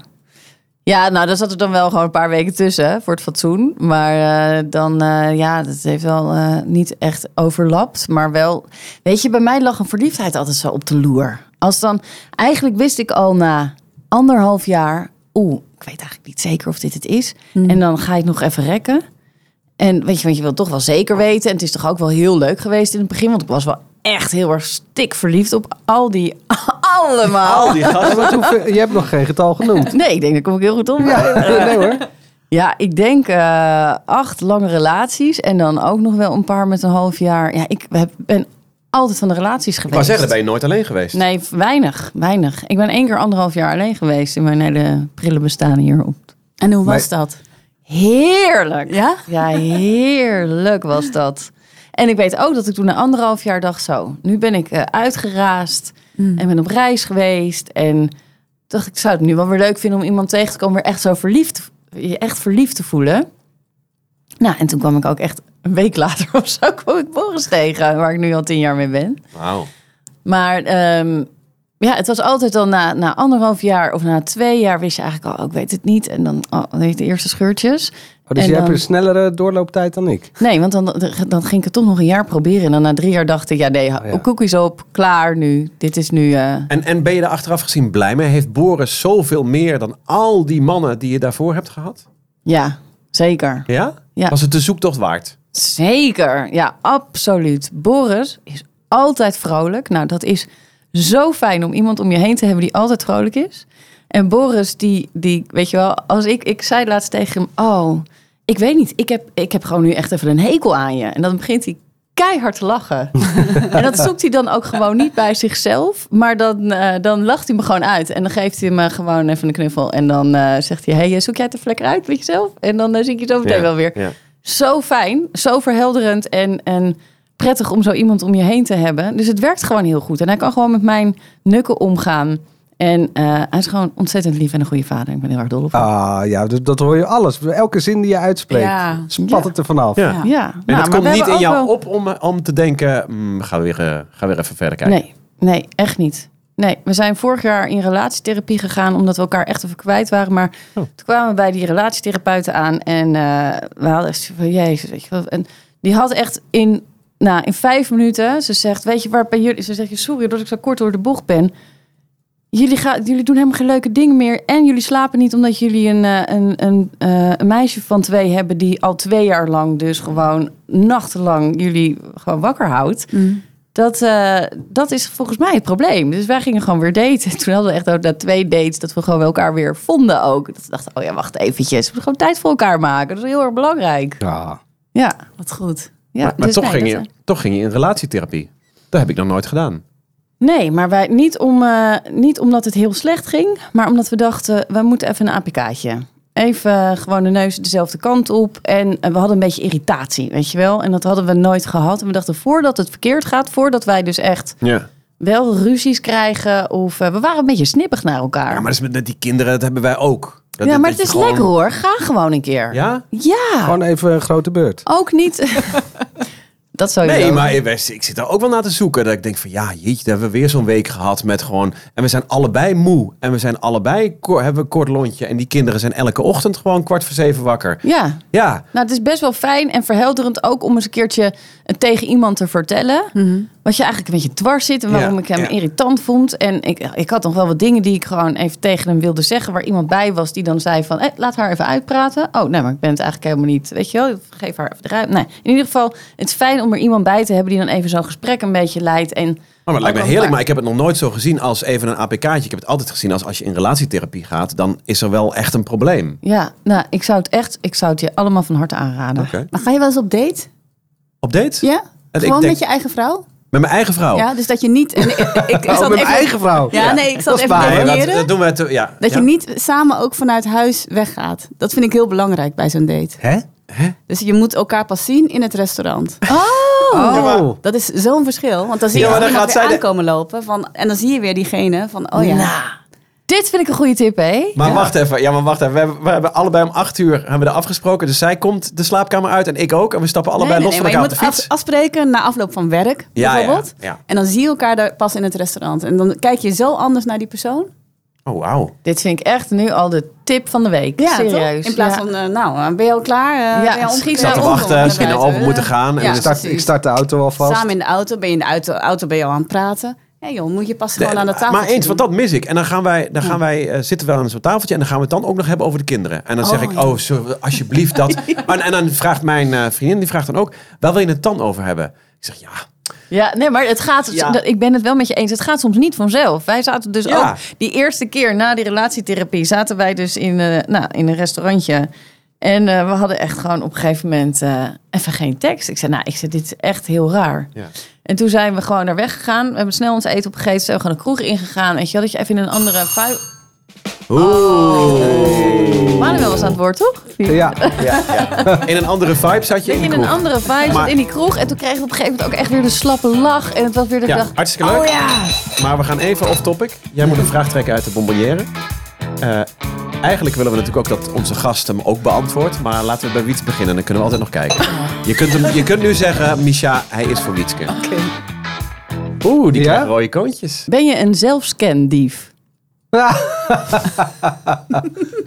Speaker 2: Ja, nou, daar zat er dan wel gewoon een paar weken tussen hè, voor het fatsoen. Maar eh, dan, eh, ja, dat heeft wel eh, niet echt overlapt. Maar wel, weet je, bij mij lag een verliefdheid altijd zo op de loer. Als dan, eigenlijk wist ik al na anderhalf jaar, oeh, ik weet eigenlijk niet zeker of dit het is. En dan ga je het nog even rekken. En weet je, want je wil toch wel zeker weten. En het is toch ook wel heel leuk geweest in het begin. Want ik was wel echt heel erg stik verliefd op al die, allemaal.
Speaker 1: Al die gasten.
Speaker 3: Wat hoeveel- je hebt nog geen getal genoemd.
Speaker 2: Nee, ik denk dat kom ik heel goed om. Ja,
Speaker 3: Nee hoor. Oh,
Speaker 2: ik denk eh, acht lange relaties en dan ook nog wel een paar met een half jaar. Ja, ik heb- ben altijd van de relaties geweest.
Speaker 1: Ik wou zeggen, daar ben je nooit alleen geweest.
Speaker 2: Nee, weinig, weinig. Ik ben één keer anderhalf jaar alleen geweest in mijn hele prille bestaan hierop.
Speaker 5: En hoe was
Speaker 3: Maar-
Speaker 5: dat?
Speaker 2: Heerlijk.
Speaker 5: Ja?
Speaker 2: Ja, heerlijk was dat. En ik weet ook dat ik toen na anderhalf jaar dacht zo. Nu ben ik eh, uitgeraasd en ben op reis geweest. En dacht ik zou het nu wel weer leuk vinden om iemand tegen te komen. Weer echt zo verliefd, je echt verliefd te voelen. Nou, en toen kwam ik ook echt een week later of zo kwam ik Boris tegen. Waar ik nu al tien jaar mee ben.
Speaker 1: Wauw.
Speaker 2: Maar ehm, ja, het was altijd al na, na anderhalf jaar of na twee jaar wist je eigenlijk al, oh, ik weet het niet. En dan oh, dan weet je de eerste scheurtjes.
Speaker 3: dus
Speaker 2: En
Speaker 3: je hebt
Speaker 2: dan-
Speaker 3: een snellere doorlooptijd dan ik.
Speaker 2: Nee, want dan, dan ging ik het toch nog een jaar proberen. En dan na drie jaar dacht ik, ja nee,
Speaker 3: ja.
Speaker 2: koek is op, klaar nu. Dit is nu... eh,
Speaker 1: En, en ben je daar achteraf gezien blij mee? Heeft Boris zoveel meer dan al die mannen die je daarvoor hebt gehad?
Speaker 2: ja, zeker.
Speaker 1: Ja?
Speaker 2: Ja.
Speaker 1: Was het de zoektocht waard?
Speaker 2: Zeker, ja, absoluut. Boris is altijd vrolijk. Nou, dat is zo fijn om iemand om je heen te hebben die altijd vrolijk is. En Boris, die, die weet je wel, als ik, ik zei laatst tegen hem: Oh, ik weet niet, ik heb, ik heb gewoon nu echt even een hekel aan je. En dan begint hij keihard te lachen. en dat zoekt hij dan ook gewoon niet bij zichzelf. Maar dan, eh, dan lacht hij me gewoon uit. En dan geeft hij me gewoon even een knuffel. En dan eh, zegt hij: Hey, eh, zoek jij het er vlekker uit met jezelf? En dan eh, zie ik je zo meteen
Speaker 1: Ja,
Speaker 2: wel weer
Speaker 1: ja.
Speaker 2: zo fijn, zo verhelderend en, en prettig om zo iemand om je heen te hebben. Dus het werkt gewoon heel goed. En hij kan gewoon met mijn nukken omgaan. En eh, hij is gewoon ontzettend lief en een goede vader. Ik ben heel erg dol op hem.
Speaker 3: Ah ja, dat, dat hoor je alles. Elke zin die je uitspreekt,
Speaker 5: Ja.
Speaker 3: spat
Speaker 2: Ja.
Speaker 3: het er vanaf.
Speaker 1: Ja.
Speaker 5: Ja.
Speaker 1: En
Speaker 2: Ja, nou, maar
Speaker 1: dat
Speaker 2: we
Speaker 1: komt niet
Speaker 2: hebben
Speaker 1: in
Speaker 2: ook
Speaker 1: jou
Speaker 2: wel-
Speaker 1: op om, eh, om te denken, "Mm, gaan, we weer, eh, gaan we weer even verder kijken.
Speaker 2: Nee, nee, echt niet. Nee, we zijn vorig jaar in relatietherapie gegaan omdat we elkaar echt even kwijt waren. Maar toen kwamen we bij die relatietherapeuten aan en eh, we hadden echt zo van, jezus, weet je wel. En die had echt in, nou, in vijf minuten, ze zegt, weet je waar ben jullie? Ze zegt, "Ja, sorry dat ik zo kort door de bocht ben. Jullie, gaan, jullie doen helemaal geen leuke dingen meer. En jullie slapen niet omdat jullie een, eh, een, een, eh, een meisje van twee hebben... die al twee jaar lang dus gewoon nachtenlang jullie gewoon wakker houdt. Dat, eh, dat is volgens mij het probleem. Dus wij gingen gewoon weer daten. Toen hadden we echt ook na twee dates dat we gewoon elkaar weer vonden ook. Dat we dachten, oh ja, wacht eventjes. We moeten gewoon tijd voor elkaar maken. Dat is heel erg belangrijk.
Speaker 3: Ja.
Speaker 2: Ja,
Speaker 5: Wat goed.
Speaker 2: ja
Speaker 1: maar maar
Speaker 2: dus
Speaker 1: toch,
Speaker 2: nee,
Speaker 1: ging
Speaker 2: dat,
Speaker 1: je, toch ging je in relatietherapie. Dat heb ik nog nooit gedaan.
Speaker 2: eh, Nee, maar wij, niet, om, eh, niet omdat het heel slecht ging. Maar omdat we dachten, we moeten even een APK'tje. Even eh, gewoon de neus dezelfde kant op. En eh, we hadden een beetje irritatie, weet je wel. En dat hadden we nooit gehad. En we dachten, voordat het verkeerd gaat, voordat wij dus echt...
Speaker 1: Ja.
Speaker 2: wel ruzies krijgen. Of eh, we waren een beetje snippig naar elkaar.
Speaker 1: Ja, maar dat is met, met die kinderen, dat hebben wij ook. Dat-
Speaker 2: Ja,
Speaker 1: dat-
Speaker 2: maar
Speaker 1: dat
Speaker 2: het
Speaker 1: je
Speaker 2: is
Speaker 1: gewoon-
Speaker 2: lekker hoor. Ga gewoon een keer.
Speaker 1: Ja?
Speaker 2: Ja,
Speaker 3: Gewoon even een grote beurt.
Speaker 2: ook niet. dat zou je
Speaker 1: Nee,
Speaker 2: wel-
Speaker 1: maar ik, ik zit daar ook wel naar te zoeken. Dat ik denk van, ja, jeetje, daar hebben we weer zo'n week gehad met gewoon... En we zijn allebei moe. En we zijn allebei, ko- hebben een kort lontje. En die kinderen zijn elke ochtend gewoon kwart voor zeven wakker.
Speaker 2: Ja.
Speaker 1: Ja,
Speaker 2: Nou, het is best wel fijn en verhelderend ook om eens een keertje het tegen iemand te vertellen. Wat je eigenlijk een beetje dwars zit en waarom
Speaker 1: Ja,
Speaker 2: ik hem
Speaker 1: ja.
Speaker 2: irritant vond. En ik, ik had nog wel wat dingen die ik gewoon even tegen hem wilde zeggen. Waar iemand bij was die dan zei van, "Hé, laat haar even uitpraten. Oh, nee, maar ik ben het eigenlijk helemaal niet. Weet je wel, geef haar even de ruimte. Nee, in ieder geval, het is fijn om er iemand bij te hebben die dan even zo'n gesprek een beetje leidt. En
Speaker 1: Oh, maar het lijkt me
Speaker 2: Ook
Speaker 1: heerlijk,
Speaker 2: elkaar.
Speaker 1: maar ik heb het nog nooit zo gezien als even een APK'tje. Ik heb het altijd gezien als als je in relatietherapie gaat, dan is er wel echt een probleem.
Speaker 2: ja, nou, ik zou het echt, ik zou het je allemaal van harte aanraden.
Speaker 1: Oké.
Speaker 5: Maar ga je wel eens op date?
Speaker 1: Op date?
Speaker 5: Ja?
Speaker 1: ik
Speaker 5: Gewoon
Speaker 1: denk- Oh.
Speaker 5: met je eigen vrouw?
Speaker 1: Met mijn eigen vrouw.
Speaker 5: Ja, dus dat je niet... En, ik, ik, ik
Speaker 3: Oh,
Speaker 5: zat
Speaker 3: met mijn
Speaker 5: even-
Speaker 3: eigen vrouw.
Speaker 5: Ja, nee, ik
Speaker 3: Dat
Speaker 5: zat
Speaker 3: is
Speaker 5: even
Speaker 3: waar, hè?
Speaker 1: Nee,
Speaker 5: definiëren.
Speaker 1: dat, dat doen we te, ja.
Speaker 5: Dat
Speaker 1: ja.
Speaker 5: je niet samen ook vanuit huis weggaat. Dat vind ik heel belangrijk bij zo'n date.
Speaker 3: Hè?
Speaker 5: Dus je moet elkaar pas zien in het restaurant.
Speaker 3: Oh.
Speaker 5: Dat is zo'n verschil. Want dan zie je
Speaker 1: Ja, maar dan
Speaker 5: iemand
Speaker 1: gaat
Speaker 5: weer
Speaker 1: zij de-
Speaker 5: aankomen lopen. Van, en dan zie je weer diegene van, oh ja.
Speaker 2: Nou, dit vind ik een goede tip, hè?
Speaker 1: Maar wacht even, ja, maar wacht even. We hebben, we hebben allebei om acht uur hebben we er afgesproken. Dus zij komt de slaapkamer uit en ik ook. En we stappen allebei
Speaker 5: Nee, nee,
Speaker 1: los
Speaker 5: nee,
Speaker 1: van
Speaker 5: maar
Speaker 1: elkaar
Speaker 5: je
Speaker 1: op
Speaker 5: moet
Speaker 1: de
Speaker 5: af-
Speaker 1: fiets.
Speaker 5: afspreken na afloop van werk,
Speaker 1: Ja,
Speaker 5: bijvoorbeeld.
Speaker 1: ja, ja.
Speaker 5: En dan zie je elkaar daar pas in het restaurant. En dan kijk je zo anders naar die persoon.
Speaker 1: Oh, wauw.
Speaker 2: Dit vind ik echt nu al de tip van de week. Serieus.
Speaker 5: toch? In plaats
Speaker 2: Ja.
Speaker 5: van, eh, nou, eh, ben je al klaar? Eh,
Speaker 2: Ja,
Speaker 5: ben je al
Speaker 2: schiet
Speaker 5: omgekeerd?
Speaker 2: Ik
Speaker 1: Zat
Speaker 2: zat
Speaker 1: te
Speaker 2: Ja,
Speaker 1: wachten,
Speaker 5: Omgekeerd.
Speaker 1: misschien naar over moeten gaan. En
Speaker 5: Ja.
Speaker 1: dus
Speaker 3: Ik start,
Speaker 5: precies.
Speaker 3: ik start de auto alvast.
Speaker 5: Samen in de auto, ben je in de auto, auto ben je al aan het praten. Ja joh, moet je pas gewoon aan de tafel
Speaker 1: Eh, maar eens,
Speaker 5: zitten.
Speaker 1: want dat mis ik. En dan gaan wij, dan gaan wij eh, zitten we aan zo'n tafeltje en dan gaan we het dan ook nog hebben over de kinderen. En dan zeg ik, oh, zo, alsjeblieft dat. Maar- en dan vraagt mijn eh, vriendin, die vraagt dan ook, waar wil je het dan over hebben? Ik zeg, ja,
Speaker 2: Ja, nee, maar het gaat.
Speaker 1: Ja.
Speaker 2: dat- Ik ben het wel met je eens. Het gaat soms niet vanzelf. Wij zaten dus
Speaker 1: Ja.
Speaker 2: ook die eerste keer na die relatietherapie zaten wij dus in, eh, nou, in een restaurantje. En eh, we hadden echt gewoon op een gegeven moment eh, even geen tekst. Ik zei, nou, ik zei, dit is echt heel raar.
Speaker 1: Ja.
Speaker 2: En toen zijn we gewoon naar weg gegaan. We hebben snel ons eten opgegeten. Zijn we gewoon een kroeg ingegaan. Weet je wel, dat je even in een andere... Oeh.
Speaker 5: Oh.
Speaker 2: Manuel was aan het woord, toch?
Speaker 3: Ja,
Speaker 1: in een andere vibe zat je in die
Speaker 2: Dat je in
Speaker 1: kroeg.
Speaker 2: een andere vibe
Speaker 1: Maar-
Speaker 2: zat in die kroeg. En toen kreeg ik op een gegeven moment ook echt weer de slappe lach. En het was weer de oh
Speaker 1: Ja,
Speaker 2: dag.
Speaker 1: hartstikke leuk. Maar we gaan even off topic. Jij moet een vraag trekken uit de bonbonnière. Eh, eigenlijk willen we natuurlijk ook dat onze gast hem ook beantwoordt. Maar laten we bij Wiets beginnen, dan kunnen we altijd nog kijken. Je kunt, hem, je kunt nu zeggen, Misha, hij is voor Wietske. Oeh, die
Speaker 3: Ja?
Speaker 1: kleine rode koontjes.
Speaker 2: Ben je een zelfscandief?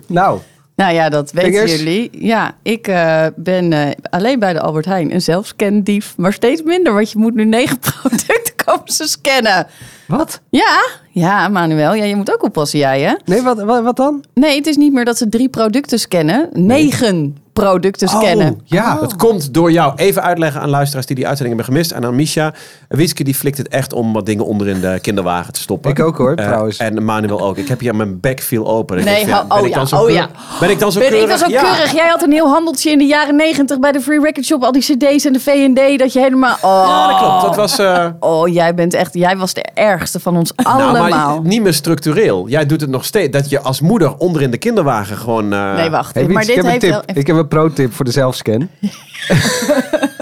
Speaker 3: nou,
Speaker 2: Nou ja, dat weten
Speaker 3: Vingers?
Speaker 2: jullie. Ja, ik eh, ben eh, alleen bij de Albert Heijn een zelfscandief. Maar steeds minder, want je moet nu negen producten komen ze scannen.
Speaker 3: Wat?
Speaker 2: Ja, ja, Manuel. Ja, je moet ook oppassen, jij hè?
Speaker 3: Nee, wat, wat, wat dan?
Speaker 2: Nee, het is niet meer dat ze drie producten scannen. Negen producten
Speaker 3: Oh,
Speaker 2: scannen.
Speaker 3: ja.
Speaker 1: Het komt door jou. Even uitleggen aan luisteraars die die uitzending hebben gemist. En aan Misha. Wieske die flikt het echt om wat dingen onder in de kinderwagen te stoppen.
Speaker 3: Ik ook, hoor,
Speaker 1: Eh,
Speaker 3: trouwens.
Speaker 1: En Manuel ook. Ik heb hier mijn bek viel open. Ik
Speaker 2: Nee,
Speaker 1: dacht,
Speaker 2: hou-
Speaker 1: ben
Speaker 2: oh
Speaker 1: ik dan
Speaker 2: ja,
Speaker 1: zo
Speaker 2: oh
Speaker 1: keurig? Ben ik dan zo
Speaker 2: Ben
Speaker 1: keurig?
Speaker 2: ik was ook
Speaker 1: Ja.
Speaker 2: keurig. Jij had een heel handeltje in de jaren negentig bij de Free Record Shop. Al die cd's en de V&D. Dat je helemaal... Oh,
Speaker 1: Ja, dat klopt. Dat was... eh,
Speaker 2: oh jij bent echt... Jij was de ergste van ons allemaal.
Speaker 1: Nou, maar niet meer structureel. Jij doet het nog steeds. Dat je als moeder onder in de kinderwagen gewoon... eh,
Speaker 2: nee, wacht.
Speaker 3: Hey, Wiets,
Speaker 2: maar
Speaker 3: ik
Speaker 2: dit
Speaker 3: heb een
Speaker 2: heeft
Speaker 3: tip.
Speaker 2: wel... even-
Speaker 3: Ik heb een pro-tip voor de zelfscan.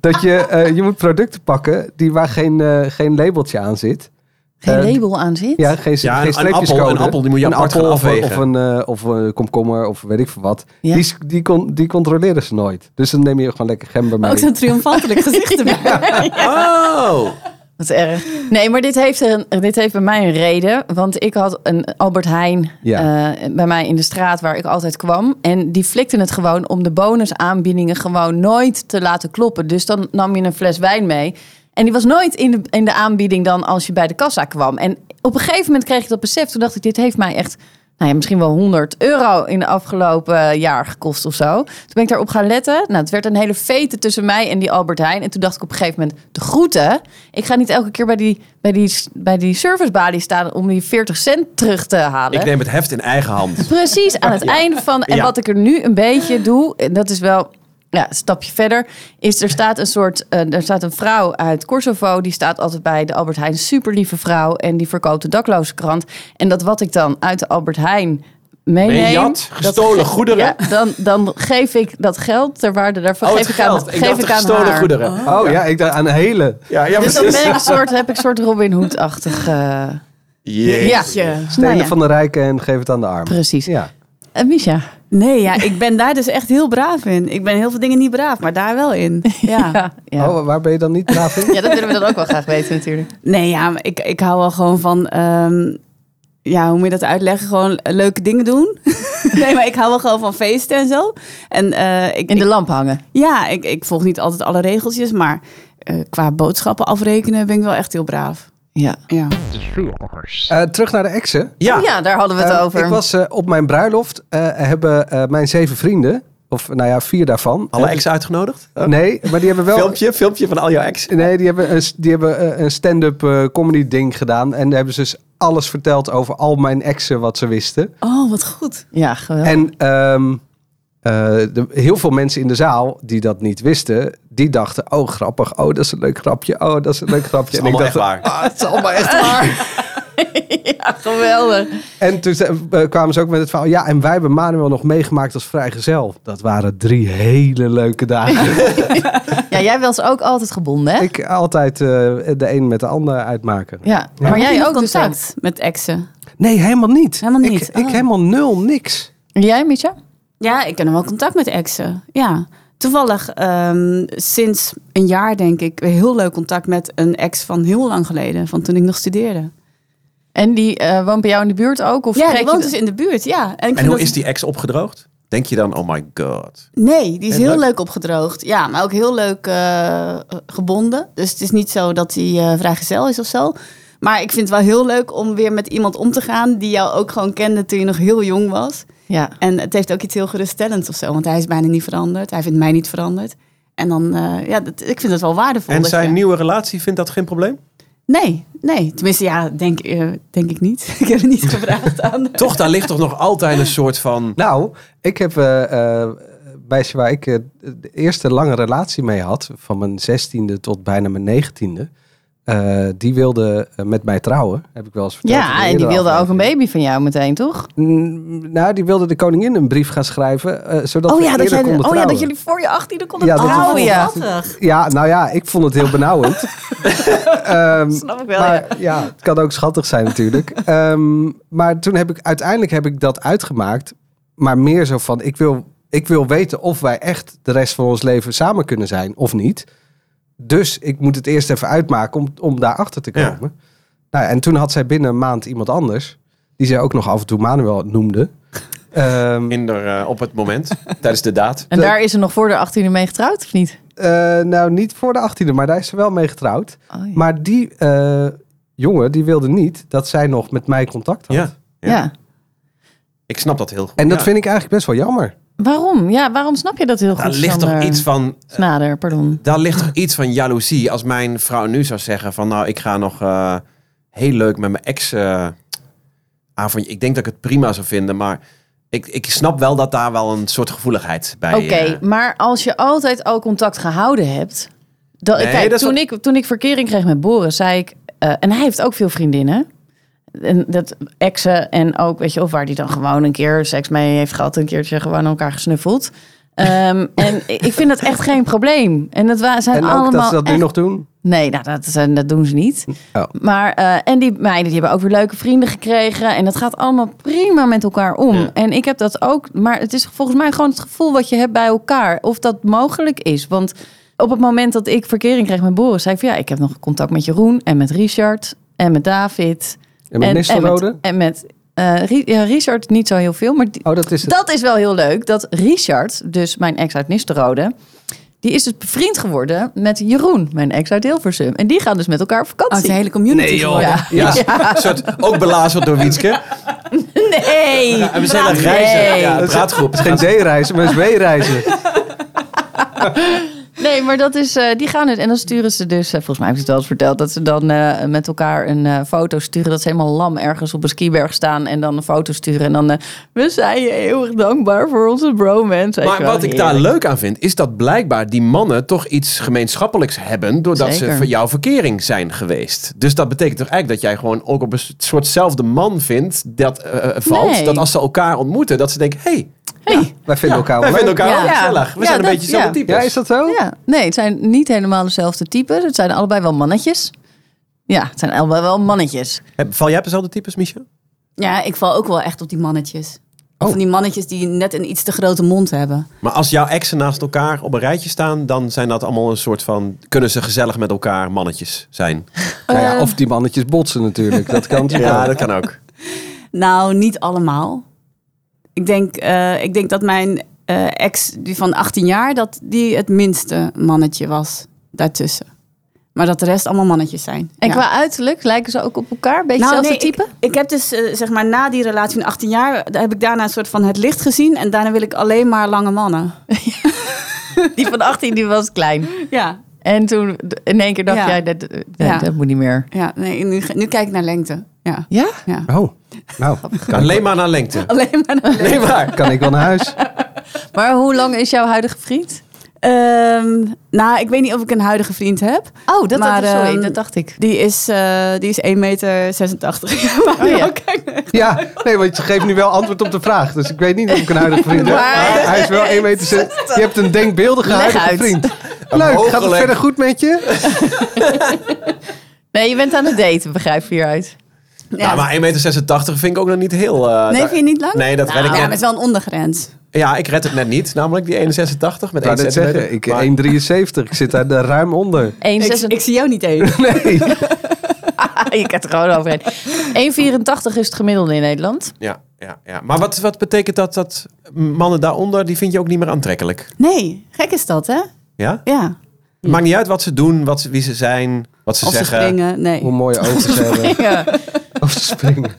Speaker 3: dat je, eh, je moet producten pakken die waar geen, eh, geen labeltje aan zit.
Speaker 2: geen
Speaker 3: eh,
Speaker 2: label aan zit?
Speaker 3: Ja, geen,
Speaker 1: Ja, een- een
Speaker 3: geen
Speaker 1: appel-
Speaker 3: streepjescode.
Speaker 1: een appel, die moet je
Speaker 3: Een
Speaker 1: apart gaan
Speaker 3: appel of, een- of
Speaker 1: afwegen.
Speaker 3: een, eh, of een komkommer of weet ik veel wat.
Speaker 2: Ja.
Speaker 3: Die, is- die, kon, die controleren ze nooit. Dus dan neem je gewoon lekker gember
Speaker 2: Oh,
Speaker 3: mee.
Speaker 5: Ook zo'n triomfantelijk gezicht erbij.
Speaker 1: Oh!
Speaker 2: Wat erg. Nee, maar dit heeft, een, dit heeft bij mij een reden. Want ik had een Albert Heijn
Speaker 3: Ja.
Speaker 2: eh, bij mij in de straat waar ik altijd kwam. En die flikten het gewoon om de bonusaanbiedingen gewoon nooit te laten kloppen. Dus dan nam je een fles wijn mee. En die was nooit in de, in de aanbieding dan als je bij de kassa kwam. En op een gegeven moment kreeg ik dat besef. Toen dacht ik, dit heeft mij echt nou ja, misschien wel 100 euro in de afgelopen eh, jaar gekost of zo. Toen ben ik daarop gaan letten. Nou, het werd een hele fete tussen mij en die Albert Heijn. En toen dacht ik op een gegeven moment, de groeten. Ik ga niet elke keer bij die, bij die, bij die servicebalie staan om die 40 cent terug te halen.
Speaker 1: Ik neem het heft in eigen hand.
Speaker 2: Precies, aan het einde van. En
Speaker 1: Ja.
Speaker 2: wat ik er nu een beetje doe, en dat is wel ja, een stapje verder, is er staat een soort. eh, er staat een vrouw uit Kosovo, die staat altijd bij de Albert Heijn. Super lieve vrouw. En die verkoopt de daklozenkrant. En dat wat ik dan uit de Albert Heijn. Meeneem,
Speaker 1: Meenjat,
Speaker 2: dat
Speaker 1: gestolen
Speaker 2: ge-
Speaker 1: goederen.
Speaker 2: Ja, dan, dan geef ik dat geld ter waarde daarvan.
Speaker 1: Oh,
Speaker 2: geef
Speaker 1: het
Speaker 2: ik aan,
Speaker 1: geld. Ik
Speaker 2: geef
Speaker 1: dacht
Speaker 2: ik
Speaker 1: de
Speaker 2: aan
Speaker 1: gestolen
Speaker 2: haar.
Speaker 1: goederen.
Speaker 3: Oh ja, ik dacht aan hele.
Speaker 1: Ja, ja
Speaker 2: Dus dan
Speaker 1: precies.
Speaker 2: ben ik een soort, heb ik een soort Robin Hood-achtig. eh,
Speaker 1: Jezus.
Speaker 2: ja,
Speaker 3: Stenen
Speaker 2: Nou ja,
Speaker 3: van de rijken en geef het aan de armen.
Speaker 2: precies.
Speaker 3: Ja.
Speaker 2: Eh, Misha,
Speaker 5: Nee, ja, ik ben daar dus echt heel braaf in. Ik ben heel veel dingen niet braaf, maar daar wel in. Ja.
Speaker 2: ja. ja.
Speaker 3: Oh, waar ben je dan niet braaf in?
Speaker 2: Ja, dat willen we dan ook wel graag weten natuurlijk.
Speaker 5: Nee, ja, maar ik, ik hou wel gewoon van... ehm, ja, hoe moet je dat uitleggen? Gewoon leuke dingen doen. nee, maar ik hou wel gewoon van feesten en zo. En, eh, ik,
Speaker 2: In de
Speaker 5: ik-
Speaker 2: lamp hangen.
Speaker 5: ja, ik, ik volg niet altijd alle regeltjes, maar eh, qua boodschappen afrekenen ben ik wel echt heel braaf.
Speaker 2: Ja.
Speaker 5: Ja.
Speaker 3: Eh, terug naar de exen.
Speaker 1: Ja.
Speaker 2: Oh, ja, daar hadden we het
Speaker 3: Eh,
Speaker 2: over.
Speaker 3: Ik was eh, op mijn bruiloft. eh, hebben eh, mijn zeven vrienden, of nou ja, vier daarvan.
Speaker 1: Alle ex uitgenodigd?
Speaker 3: Eh, Nee, maar die hebben wel.
Speaker 1: Filmpje, filmpje van al jouw ex.
Speaker 3: Nee, die hebben een, die hebben eh, een stand-up eh, comedy ding gedaan. En daar hebben ze dus alles verteld over al mijn exen wat ze wisten.
Speaker 5: Oh, wat goed.
Speaker 2: Ja, geweldig.
Speaker 3: En ehm, eh, de, heel veel mensen in de zaal die dat niet wisten, die dachten: oh, grappig. Oh, dat is een leuk grapje. Oh, dat is een leuk grapje.
Speaker 1: Dat
Speaker 3: en
Speaker 1: is
Speaker 3: ik
Speaker 1: allemaal echt
Speaker 3: dacht:
Speaker 1: waar.
Speaker 3: ah, het is allemaal echt waar.
Speaker 2: Ja, geweldig.
Speaker 3: en toen ze- eh, kwamen ze ook met het verhaal: ja, en wij hebben Manuel nog meegemaakt als vrijgezel. Dat waren drie hele leuke dagen.
Speaker 2: Ja, jij was ook altijd gebonden, hè?
Speaker 3: ik altijd eh, de een met de ander uitmaken.
Speaker 2: Ja. Maar jij ook dus ook.
Speaker 5: contact met exen.
Speaker 3: Nee, helemaal niet.
Speaker 5: Helemaal
Speaker 3: Ik-
Speaker 5: niet.
Speaker 3: Ik,
Speaker 5: Oh.
Speaker 3: helemaal nul, niks.
Speaker 2: En jij, Mitja?
Speaker 5: Ja, ik heb nog wel contact met exen. Ja. Toevallig ehm, sinds een jaar, denk ik, weer heel leuk contact met een ex van heel lang geleden, van toen ik nog studeerde.
Speaker 2: En die eh, woont bij jou in de buurt ook? Of
Speaker 5: Ja,
Speaker 2: spreek
Speaker 5: die
Speaker 2: je
Speaker 5: woont
Speaker 2: de-
Speaker 5: dus in de buurt, ja. ik
Speaker 1: En
Speaker 5: vind
Speaker 1: hoe
Speaker 5: dat-
Speaker 1: is die ex opgedroogd? Denk je dan, oh my god.
Speaker 5: Nee, die is
Speaker 1: En
Speaker 5: heel
Speaker 1: leuk?
Speaker 5: leuk opgedroogd. Ja, maar ook heel leuk eh, gebonden. Dus het is niet zo dat hij eh, vrijgezel is of zo. Maar ik vind het wel heel leuk om weer met iemand om te gaan... die jou ook gewoon kende toen je nog heel jong was.
Speaker 2: Ja.
Speaker 5: En het heeft ook iets heel geruststellends of zo. Want hij is bijna niet veranderd. Hij vindt mij niet veranderd. En dan, eh, ja, dat, ik vind het wel waardevol.
Speaker 1: En
Speaker 5: dat
Speaker 1: zijn
Speaker 5: je-
Speaker 1: nieuwe relatie vindt dat geen probleem?
Speaker 5: Nee, nee. Tenminste, ja, denk, eh, denk ik niet. ik heb het niet gevraagd aan. haar.
Speaker 1: Toch, daar ligt toch nog altijd een soort van...
Speaker 3: Nou, ik heb eh eh, meisje waar ik eh, de eerste lange relatie mee had, van mijn zestiende tot bijna mijn negentiende, eh, die wilde eh, met mij trouwen, heb ik wel eens verteld. in
Speaker 2: Ja,
Speaker 3: een
Speaker 2: en die
Speaker 3: eerdere
Speaker 2: wilde ook een
Speaker 3: aflevering.
Speaker 2: baby van jou meteen, toch?
Speaker 3: Mm, nou, die wilde de koningin een brief gaan schrijven, eh, zodat we eerder konden
Speaker 2: oh ja,
Speaker 3: trouwen.
Speaker 2: dat jullie voor je achttiende konden
Speaker 3: Ja, dat we
Speaker 2: trouwen.
Speaker 3: voor-
Speaker 2: Oh, Ja.
Speaker 3: Ja, nou ja, ik vond het heel benauwend. Ehm,
Speaker 2: Snap ik wel,
Speaker 3: maar ja. het kan ook schattig zijn natuurlijk. Ehm, maar toen heb ik uiteindelijk heb ik dat uitgemaakt. Maar meer zo van, ik wil, ik wil weten of wij echt de rest van ons leven samen kunnen zijn of niet. Dus ik moet het eerst even uitmaken om, om daarachter te
Speaker 1: Ja.
Speaker 3: komen. Nou, en toen had zij binnen een maand iemand anders. Die zij ook nog af en toe Manuel noemde. Ehm,
Speaker 1: In de, eh, op het moment, tijdens de daad.
Speaker 2: En daar is ze nog voor de 18e mee getrouwd, of niet?
Speaker 3: eh, nou, niet voor de 18e, maar daar is ze wel mee getrouwd.
Speaker 2: Oh, ja.
Speaker 3: Maar die eh, jongen die wilde niet dat zij nog met mij contact had.
Speaker 1: Ja,
Speaker 2: ja.
Speaker 1: ik snap dat heel goed.
Speaker 3: En dat
Speaker 1: Ja.
Speaker 3: vind ik eigenlijk best wel jammer.
Speaker 2: Waarom? Ja, waarom snap je dat heel goed,
Speaker 1: Daar ligt toch
Speaker 3: eh,
Speaker 2: Sander?
Speaker 1: iets van
Speaker 2: Snader, pardon.
Speaker 1: Daar ligt toch iets van jaloezie. Als mijn vrouw nu zou zeggen van nou, ik ga nog eh, heel leuk met mijn ex eh avondje. Ik denk dat ik het prima zou vinden, maar ik, ik snap wel dat daar wel een soort gevoeligheid bij
Speaker 2: Oké,
Speaker 1: eh,
Speaker 2: maar als je altijd al contact gehouden hebt... Dan,
Speaker 1: Nee,
Speaker 2: kijk,
Speaker 1: dat is
Speaker 2: toen,
Speaker 1: wel-
Speaker 2: ik, toen ik verkering kreeg met Boris, zei ik... eh, en hij heeft ook veel vriendinnen. En dat exen en ook, weet je, of waar die dan gewoon een keer seks mee heeft gehad... een keertje gewoon aan elkaar gesnuffeld. Ehm, en ik vind dat echt geen probleem. En dat wa- zijn
Speaker 3: En ook
Speaker 2: allemaal
Speaker 3: dat ze dat nu
Speaker 2: echt-
Speaker 3: nog doen.
Speaker 2: Nee, nou, dat, zijn- dat doen ze niet.
Speaker 3: Oh.
Speaker 2: Maar, eh, en die meiden die hebben ook weer leuke vrienden gekregen. En dat gaat allemaal prima met elkaar om.
Speaker 1: Ja.
Speaker 2: En ik heb dat ook. Maar het is volgens mij gewoon het gevoel wat je hebt bij elkaar. Of dat mogelijk is. Want op het moment dat ik verkering kreeg met Boris, zei ik van ja, ik heb nog contact met Jeroen en met Richard en met David.
Speaker 3: En met Nistelrode.
Speaker 2: En met, en met eh, Ri- ja, Richard niet zo heel veel, maar die,
Speaker 3: Oh, dat is het.
Speaker 2: dat is wel heel leuk. Dat Richard, dus mijn ex uit Nistelrode... die is dus bevriend geworden met Jeroen, mijn ex uit Hilversum. En die gaan dus met elkaar op
Speaker 5: Oh,
Speaker 2: vakantie.
Speaker 5: de hele community. geworden.
Speaker 2: Ja.
Speaker 1: Ja, een soort ook belazerd door Wietske.
Speaker 2: Nee!
Speaker 1: En we zijn aan het reizen. Ja, praatgroep.
Speaker 3: Het is geen D-reizen, maar het is W-reizen.
Speaker 2: Nee, maar dat is, eh, die gaan het. En dan sturen ze dus, eh, volgens mij heb ik het wel eens verteld, dat ze dan eh, met elkaar een eh, foto sturen. Dat ze helemaal lam ergens op een skiberg staan en dan een foto sturen. En dan, eh, we zijn je eeuwig dankbaar voor onze bromance. Weet
Speaker 1: Maar
Speaker 2: je wel,
Speaker 1: wat ik daar
Speaker 2: heerlijk.
Speaker 1: leuk aan vind, is dat blijkbaar die mannen toch iets gemeenschappelijks hebben. doordat ze
Speaker 2: Zeker.
Speaker 1: van jouw verkering zijn geweest. Dus dat betekent toch eigenlijk dat jij gewoon ook op een soortzelfde man vindt. dat eh, valt.
Speaker 2: Nee.
Speaker 1: Dat als ze elkaar ontmoeten, dat ze denken: hé, hey,
Speaker 3: Wij vinden elkaar
Speaker 1: wij
Speaker 3: wel
Speaker 1: vinden
Speaker 3: leuk.
Speaker 1: elkaar
Speaker 2: Ja.
Speaker 1: wel gezellig. We
Speaker 2: Ja,
Speaker 1: zijn een
Speaker 2: dat-
Speaker 1: beetje dezelfde
Speaker 2: ja.
Speaker 1: types.
Speaker 3: Ja, is dat zo?
Speaker 2: Ja, nee, het zijn niet helemaal dezelfde types. Het zijn allebei wel mannetjes. Ja, het zijn allebei wel mannetjes.
Speaker 1: Heb- eh, Val jij op dezelfde types, Michel?
Speaker 5: Ja, ik val ook wel echt op die mannetjes.
Speaker 1: Oh.
Speaker 5: Of van die mannetjes die net een iets te grote mond hebben.
Speaker 1: Maar als jouw exen naast elkaar op een rijtje staan, dan zijn dat allemaal een soort van. kunnen ze gezellig met elkaar mannetjes zijn?
Speaker 3: Nou ja, of die mannetjes botsen natuurlijk. Dat kan
Speaker 1: Ja,
Speaker 3: natuurlijk.
Speaker 1: dat kan ook.
Speaker 5: Nou, niet allemaal. Ik denk, eh, ik denk dat mijn eh, ex die van 18 jaar, dat die het minste mannetje was daartussen. Maar dat de rest allemaal mannetjes zijn.
Speaker 2: En
Speaker 5: Ja.
Speaker 2: qua uiterlijk lijken ze ook op elkaar. Beetje
Speaker 5: Nou,
Speaker 2: hetzelfde
Speaker 5: nee,
Speaker 2: type.
Speaker 5: Ik, ik heb dus, eh, zeg maar, na die relatie van 18 jaar, daar heb ik daarna een soort van het licht gezien. En daarna wil ik alleen maar lange mannen.
Speaker 2: Die van 18 die was klein.
Speaker 5: Ja,
Speaker 2: En toen d- in één keer dacht
Speaker 5: Ja.
Speaker 2: jij, dat, eh, nee,
Speaker 5: Ja.
Speaker 2: dat moet niet meer.
Speaker 5: ja nee, nu, nu kijk ik naar lengte. Ja.
Speaker 2: Ja?
Speaker 5: ja.
Speaker 3: Oh, nou,
Speaker 1: Alleen maar naar lengte.
Speaker 5: Alleen maar naar lengte.
Speaker 1: Nee, maar.
Speaker 3: kan ik wel naar huis.
Speaker 2: Maar hoe lang is jouw huidige vriend?
Speaker 5: Ehm, nou, ik weet niet of ik een huidige vriend heb.
Speaker 2: Oh, dat,
Speaker 5: Maar,
Speaker 2: dat, sorry,
Speaker 5: ehm,
Speaker 2: dat dacht ik.
Speaker 5: Die is, eh, die is 1,86 meter. Maar
Speaker 2: Oh, ja.
Speaker 5: nou, kijk,
Speaker 3: Ja, nee, want je geeft nu wel antwoord op de vraag. Dus ik weet niet of ik een huidige vriend heb.
Speaker 2: Maar-
Speaker 3: Maar hij is wel 1 meter. zes- Je hebt een denkbeeldige
Speaker 2: Leg
Speaker 3: huidige
Speaker 2: uit.
Speaker 3: vriend. Leuk, gaat het
Speaker 1: hooggelegd.
Speaker 3: verder goed met je?
Speaker 2: Nee, je bent aan het daten, begrijp je hieruit.
Speaker 5: Ja.
Speaker 1: Nou, maar 1,86 meter vind ik ook nog niet heel. eh,
Speaker 5: nee,
Speaker 1: daar-
Speaker 5: vind je niet lang?
Speaker 1: Nee, dat
Speaker 5: nou,
Speaker 1: red ik
Speaker 5: Ja,
Speaker 1: net.
Speaker 5: maar het is wel een ondergrens.
Speaker 1: Ja, ik red het net niet. Namelijk die 1,86 met
Speaker 3: Ik wou
Speaker 1: 1
Speaker 3: net
Speaker 1: centimeter.
Speaker 3: zeggen, ik
Speaker 1: Maar-
Speaker 3: 1,73. Ik zit daar daar ruim onder.
Speaker 2: 1,86.
Speaker 5: Ik, ik zie jou niet eens.
Speaker 3: Nee.
Speaker 2: Ah, je kent er gewoon overheen. 1,84 is het gemiddelde in Nederland.
Speaker 1: Ja, ja, ja. Maar wat, wat betekent dat dat mannen daaronder, die vind je ook niet meer aantrekkelijk?
Speaker 5: Nee, gek is dat, hè?
Speaker 1: Ja?
Speaker 5: Ja.
Speaker 1: Maakt niet uit wat ze doen, wat ze, wie ze zijn, wat ze
Speaker 5: Of ze
Speaker 1: zeggen.
Speaker 5: springen. Nee.
Speaker 3: Hoe mooie ogen ze hebben.
Speaker 2: Ja.
Speaker 3: Of ze springen.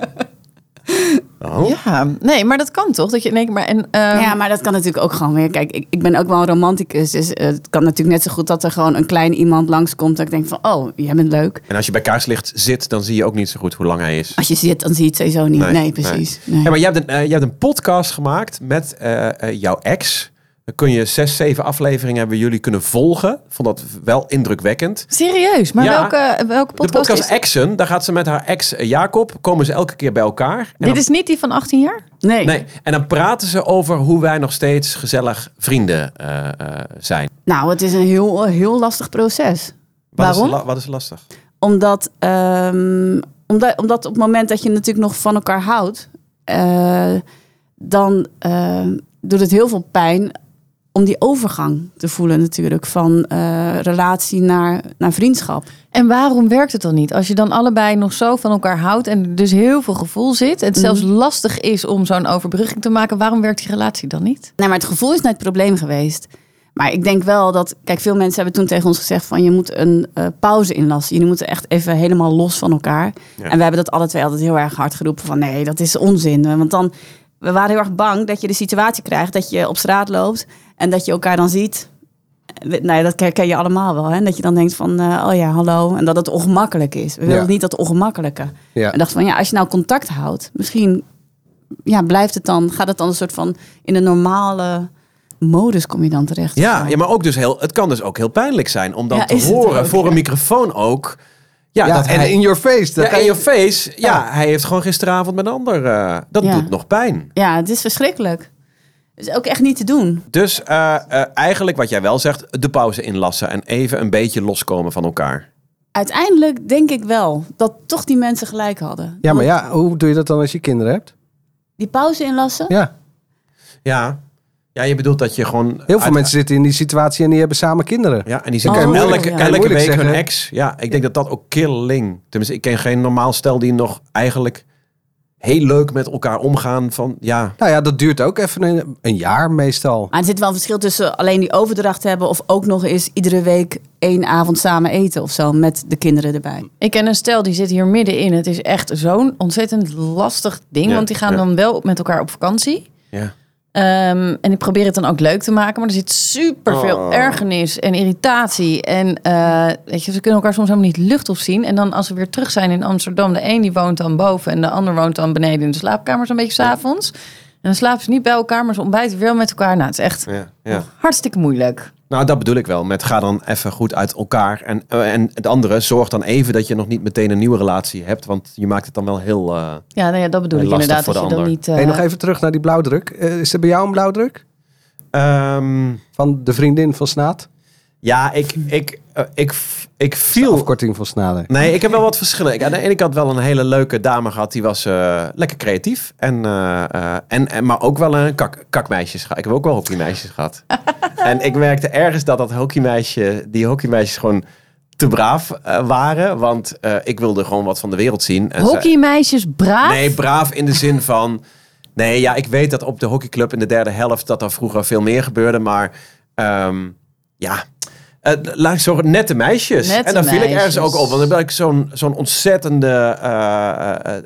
Speaker 1: Oh.
Speaker 2: Ja, nee, maar dat kan toch? Dat je in één keer maar. En, ehm,
Speaker 5: Ja, maar dat kan natuurlijk ook gewoon weer. Kijk, ik, ik ben ook wel een romanticus. Dus eh, het kan natuurlijk net zo goed dat er gewoon een klein iemand langskomt. Dat ik denk van, oh, jij bent leuk.
Speaker 1: En als je bij kaarslicht zit, dan zie je ook niet zo goed hoe lang hij is.
Speaker 5: Als je zit, dan zie je het sowieso niet. Nee, precies.
Speaker 1: nee.
Speaker 5: Nee.
Speaker 1: Ja, maar jij hebt, een, eh, jij hebt een podcast gemaakt met eh, eh, jouw ex. Dan kun je zes, zeven afleveringen hebben jullie kunnen volgen. Vond dat wel indrukwekkend.
Speaker 2: Serieus, maar
Speaker 1: Ja.
Speaker 2: welke, eh, welke podcast,
Speaker 1: de podcast
Speaker 2: is
Speaker 1: Exen, daar gaat ze met haar ex eh, Jacob. Komen ze elke keer bij elkaar. En
Speaker 2: dit?
Speaker 1: dan
Speaker 2: Dit is niet die van 18 jaar?
Speaker 5: nee.
Speaker 1: Nee, en dan praten ze over hoe wij nog steeds gezellig vrienden eh, eh, zijn.
Speaker 5: Nou, het is een heel, heel lastig proces.
Speaker 1: Wat
Speaker 2: Waarom?
Speaker 1: Is, la- wat is lastig?
Speaker 5: Omdat, ehm, omdat, omdat op het moment dat je natuurlijk nog van elkaar houdt, eh, dan eh, doet het heel veel pijn om die overgang te voelen natuurlijk van eh, relatie naar, naar vriendschap.
Speaker 2: En waarom werkt het dan niet? Als je dan allebei nog zo van elkaar houdt en er dus heel veel gevoel zit. En het zelfs
Speaker 1: Mhm.
Speaker 2: lastig is om zo'n overbrugging te maken. Waarom werkt die relatie dan niet?
Speaker 5: Nou, maar het gevoel is nooit het probleem geweest. Maar ik denk wel dat, kijk, veel mensen hebben toen tegen ons gezegd van je moet een eh, pauze inlassen. Jullie moeten echt even helemaal los van elkaar. En we hebben dat alle twee altijd heel erg hard geroepen van nee, dat is onzin. Want dan, we waren heel erg bang dat je de situatie krijgt dat je op straat loopt en dat je elkaar dan ziet. Eh, we- Nou ja, dat herken je allemaal wel. Hè? Dat je dan denkt van, eh, oh ja, hallo. En dat het ongemakkelijk is. We willen
Speaker 3: Ja.
Speaker 5: niet dat ongemakkelijke.
Speaker 3: Ja.
Speaker 5: En dacht van, ja, als je nou contact houdt, misschien ja, blijft het dan, gaat het dan een soort van in een normale modus kom je dan terecht.
Speaker 1: Ja, ja, maar ook dus heel, het kan dus ook heel pijnlijk zijn om dan
Speaker 2: Ja, is
Speaker 1: te
Speaker 2: het
Speaker 1: horen
Speaker 2: ook,
Speaker 1: voor
Speaker 2: ja.
Speaker 1: een microfoon ook. Ja,
Speaker 3: Ja,
Speaker 1: dat
Speaker 3: en
Speaker 1: hij,
Speaker 3: in your face. Dat
Speaker 1: ja, in
Speaker 3: hij-
Speaker 1: your face. Ja,
Speaker 3: Ja.
Speaker 1: hij heeft gewoon gisteravond met een ander. eh, dat
Speaker 5: Ja.
Speaker 1: doet nog pijn.
Speaker 5: Ja, het is verschrikkelijk. Het is ook echt niet te doen.
Speaker 1: Dus eh, eh, eigenlijk wat jij wel zegt, de pauze inlassen en even een beetje loskomen van elkaar.
Speaker 5: Uiteindelijk denk ik wel dat toch die mensen gelijk hadden.
Speaker 3: ja, maar
Speaker 5: Want
Speaker 3: ja, hoe doe je dat dan als je kinderen hebt?
Speaker 5: Die pauze inlassen?
Speaker 3: Ja.
Speaker 1: Ja, ja je bedoelt dat je gewoon...
Speaker 3: Heel veel mensen zitten in die situatie en die hebben samen kinderen.
Speaker 1: Ja, en die
Speaker 5: kan
Speaker 1: zitten
Speaker 5: je Oh, moeilijk-
Speaker 1: elke,
Speaker 5: ja.
Speaker 1: elke week
Speaker 3: kan je moeilijk
Speaker 1: hun
Speaker 3: zeggen.
Speaker 1: ex. Ja, ik denk dat dat ook killing... Tenminste, ik ken geen normaal stel die nog eigenlijk heel leuk met elkaar omgaan van... Ja,
Speaker 3: Nou ja, dat duurt ook even een, een jaar meestal.
Speaker 5: Maar er zit wel een verschil tussen alleen die overdracht hebben of ook nog eens iedere week één avond samen eten of zo met de kinderen erbij.
Speaker 2: Ik ken een stel die zit hier middenin. Het is echt zo'n ontzettend lastig ding.
Speaker 1: Ja,
Speaker 2: want die gaan
Speaker 1: ja.
Speaker 2: dan wel met elkaar op vakantie.
Speaker 1: ja.
Speaker 2: Ehm, en ik probeer het dan ook leuk te maken, maar er zit superveel ergernis en irritatie. En eh, weet je, ze kunnen elkaar soms helemaal niet lucht op zien. En dan als ze weer terug zijn in Amsterdam, de een die woont dan boven en de ander woont dan beneden in de slaapkamer, zo'n beetje s'avonds. En dan slapen ze niet bij elkaar, maar ze ontbijten wel met elkaar. Nou, het is echt
Speaker 1: ja, ja.
Speaker 2: hartstikke moeilijk.
Speaker 1: Nou, dat bedoel ik wel. Met ga dan even goed uit elkaar. En, eh, en het andere, zorg dan even dat je nog niet meteen een nieuwe relatie hebt. Want je maakt het dan wel heel... eh,
Speaker 2: Ja, nou ja dat bedoel
Speaker 1: En
Speaker 2: ik
Speaker 1: lastig
Speaker 2: inderdaad.
Speaker 1: voor
Speaker 2: Dat je
Speaker 1: de
Speaker 2: dan
Speaker 1: ander.
Speaker 2: niet. eh,
Speaker 3: Hey, nog even terug naar die blauwdruk. Eh, is er bij jou een blauwdruk?
Speaker 1: ehm,
Speaker 3: Van de vriendin van Snaat?
Speaker 1: ja, ik, ik, eh, ik, ik
Speaker 3: De
Speaker 1: viel...
Speaker 3: afkorting van Snader.
Speaker 1: Nee, ik heb wel wat verschillen. Ik, aan de ene kant wel een hele leuke dame gehad. Die was eh, lekker creatief. En, eh, eh, en, en, maar ook wel een kak, kakmeisjes gehad. Ik heb ook wel hockeymeisjes gehad. en ik merkte ergens dat, dat hockeymeisje, die hockeymeisjes gewoon te braaf eh, waren. Want eh, ik wilde gewoon wat van de wereld zien. En zij-
Speaker 2: Hockeymeisjes braaf.
Speaker 1: Nee, braaf in de zin van... Nee, ja, ik weet dat op de hockeyclub in de derde helft... dat daar vroeger veel meer gebeurde, maar... ehm, ja, Eh, laat ik zorgen, nette meisjes.
Speaker 2: Nette
Speaker 1: en daar viel ik ergens
Speaker 2: meisjes.
Speaker 1: ook op. Want dan ben ik zo'n zo'n ontzettende... eh, eh, eh,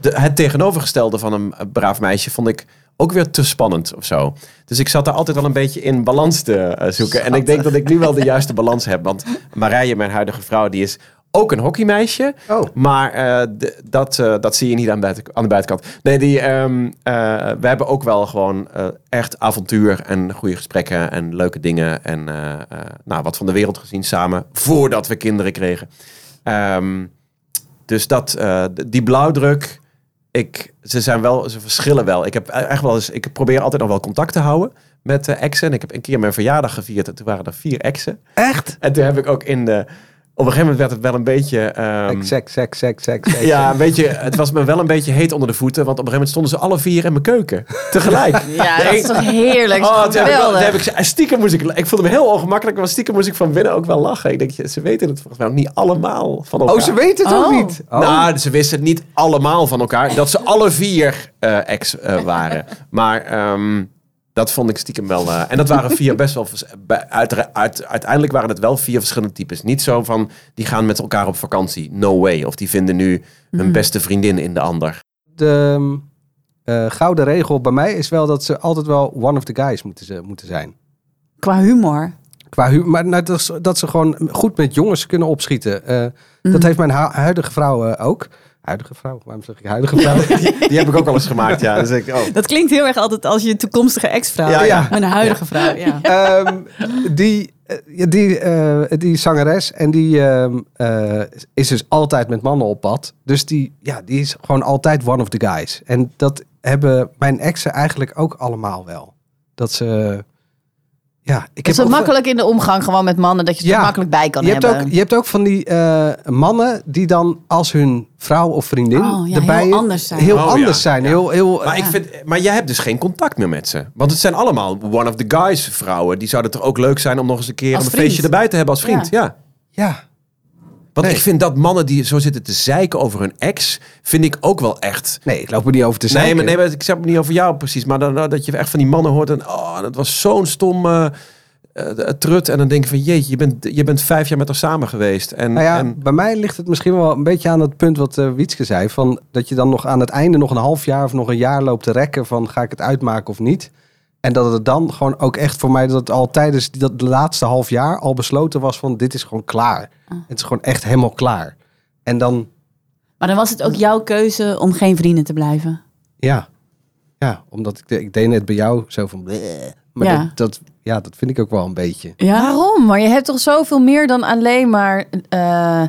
Speaker 1: de- het tegenovergestelde van een eh, braaf meisje vond ik ook weer te spannend of zo. Dus ik zat daar altijd wel een beetje in balans te eh, zoeken. En ik denk dat ik nu wel de juiste balans heb. Want Marije, mijn huidige vrouw, die is ook een hockeymeisje.
Speaker 3: Oh.
Speaker 1: Maar eh, d- dat, eh, dat zie je niet aan de, buiten- aan de buitenkant. Nee, die, ehm, eh, we hebben ook wel gewoon eh, echt avontuur en goede gesprekken en leuke dingen. En eh, eh, nou, wat van de wereld gezien samen, voordat we kinderen kregen. Ehm, dus dat, eh, d- die blauwdruk, ik, ze, zijn wel, ze verschillen wel. Ik, heb e- echt wel eens, ik probeer altijd nog wel contact te houden met de exen. En ik heb een keer mijn verjaardag gevierd en toen waren er vier exen.
Speaker 3: Echt?
Speaker 1: En toen heb ik ook in de... Op een gegeven moment werd het wel een beetje... ehm,
Speaker 3: Seks, seks, seks, seks. seks.
Speaker 1: ja, een beetje, het was me wel een beetje heet onder de voeten. Want op een gegeven moment stonden ze alle vier in mijn keuken. Tegelijk.
Speaker 2: Ja, Nou, dat is toch heerlijk.
Speaker 1: Oh,
Speaker 2: Oh,
Speaker 1: toen heb ik, wel- toen
Speaker 2: geweldig.
Speaker 1: heb ik, ze- en stiekem moest ik, ik voelde me heel ongemakkelijk, maar stiekem moest ik van binnen ook wel lachen. Ik denk, je- ze weten het volgens mij ook niet allemaal van elkaar.
Speaker 3: Oh, ze weten het ook
Speaker 2: Oh.
Speaker 3: niet. Oh.
Speaker 1: Nou, ze wisten het niet allemaal van elkaar. Dat ze alle vier eh, ex eh, waren. Maar ehm, dat vond ik stiekem wel... eh, en dat waren vier best wel... vers- bij- uitera- uit- uiteindelijk waren het wel vier verschillende types. Niet zo van, die gaan met elkaar op vakantie. No way. Of die vinden nu hun beste vriendin in de ander.
Speaker 3: De ehm, eh, gouden regel bij mij is wel dat ze altijd wel one of the guys moeten, ze, moeten zijn.
Speaker 5: Qua humor.
Speaker 3: Qua hu maar nou, dat, ze- dat ze gewoon goed met jongens kunnen opschieten. Eh, Dat heeft mijn hu- huidige vrouw eh, ook. Huidige vrouw? Waarom zeg ik huidige vrouw?
Speaker 1: Die heb ik ook al eens gemaakt, ja. Dus ik, oh.
Speaker 5: Dat klinkt heel erg altijd als je toekomstige ex-vrouw.
Speaker 1: Ja, ja.
Speaker 5: Mijn huidige vrouw, ja.
Speaker 3: Ehm, die, eh, ja, die, eh, die zangeres en die ehm, eh, is dus altijd met mannen op pad. Dus die, ja, die is gewoon altijd one of the guys. En dat hebben mijn exen eigenlijk ook allemaal wel. Dat ze, Ja, ik
Speaker 2: Is het
Speaker 3: ook-
Speaker 2: makkelijk in de omgang gewoon met mannen dat je het
Speaker 3: Ja.
Speaker 2: er makkelijk bij kan
Speaker 3: je hebt,
Speaker 2: hebben?
Speaker 3: ook, je hebt ook van die eh, mannen die dan als hun vrouw of vriendin
Speaker 5: Oh, ja,
Speaker 3: erbij
Speaker 5: heel anders zijn.
Speaker 3: Heel
Speaker 1: Oh, ja.
Speaker 3: anders zijn. Heel, heel, eh,
Speaker 1: Maar, ik vind, maar jij hebt dus geen contact meer met ze. Want het zijn allemaal one of the guys vrouwen. Die zouden toch ook leuk zijn om nog eens een keer
Speaker 5: Als
Speaker 1: een
Speaker 5: vriend.
Speaker 1: feestje erbij te hebben als vriend. Ja.
Speaker 3: ja.
Speaker 1: Want
Speaker 3: Nee.
Speaker 1: ik vind dat mannen die zo zitten te zeiken over hun ex, vind ik ook wel echt.
Speaker 3: Nee, ik loop er niet over te zijn.
Speaker 1: Nee, maar, nee, maar ik zeg het niet over jou precies. Maar dan, nou, dat je echt van die mannen hoort en oh, dat was zo'n stom eh, eh, trut. En dan denk je van jeetje, je bent, je bent vijf jaar met haar samen geweest. En,
Speaker 3: Nou ja,
Speaker 1: en
Speaker 3: bij mij ligt het misschien wel een beetje aan het punt wat eh, Wietske zei. Van dat je dan nog aan het einde nog een half jaar of nog een jaar loopt te rekken van ga ik het uitmaken of niet. En dat het dan gewoon ook echt voor mij dat het al tijdens die- dat laatste half jaar al besloten was van dit is gewoon klaar. Het is gewoon echt helemaal klaar. En dan,
Speaker 5: Maar dan was het ook jouw keuze om geen vrienden te blijven.
Speaker 3: ja, ja omdat ik, de- ik deed net bij jou zo van bleh. Maar
Speaker 5: Ja.
Speaker 3: Dat, dat, ja, dat vind ik ook wel een beetje.
Speaker 5: Ja.
Speaker 2: Waarom? Maar je hebt toch zoveel meer dan alleen maar eh,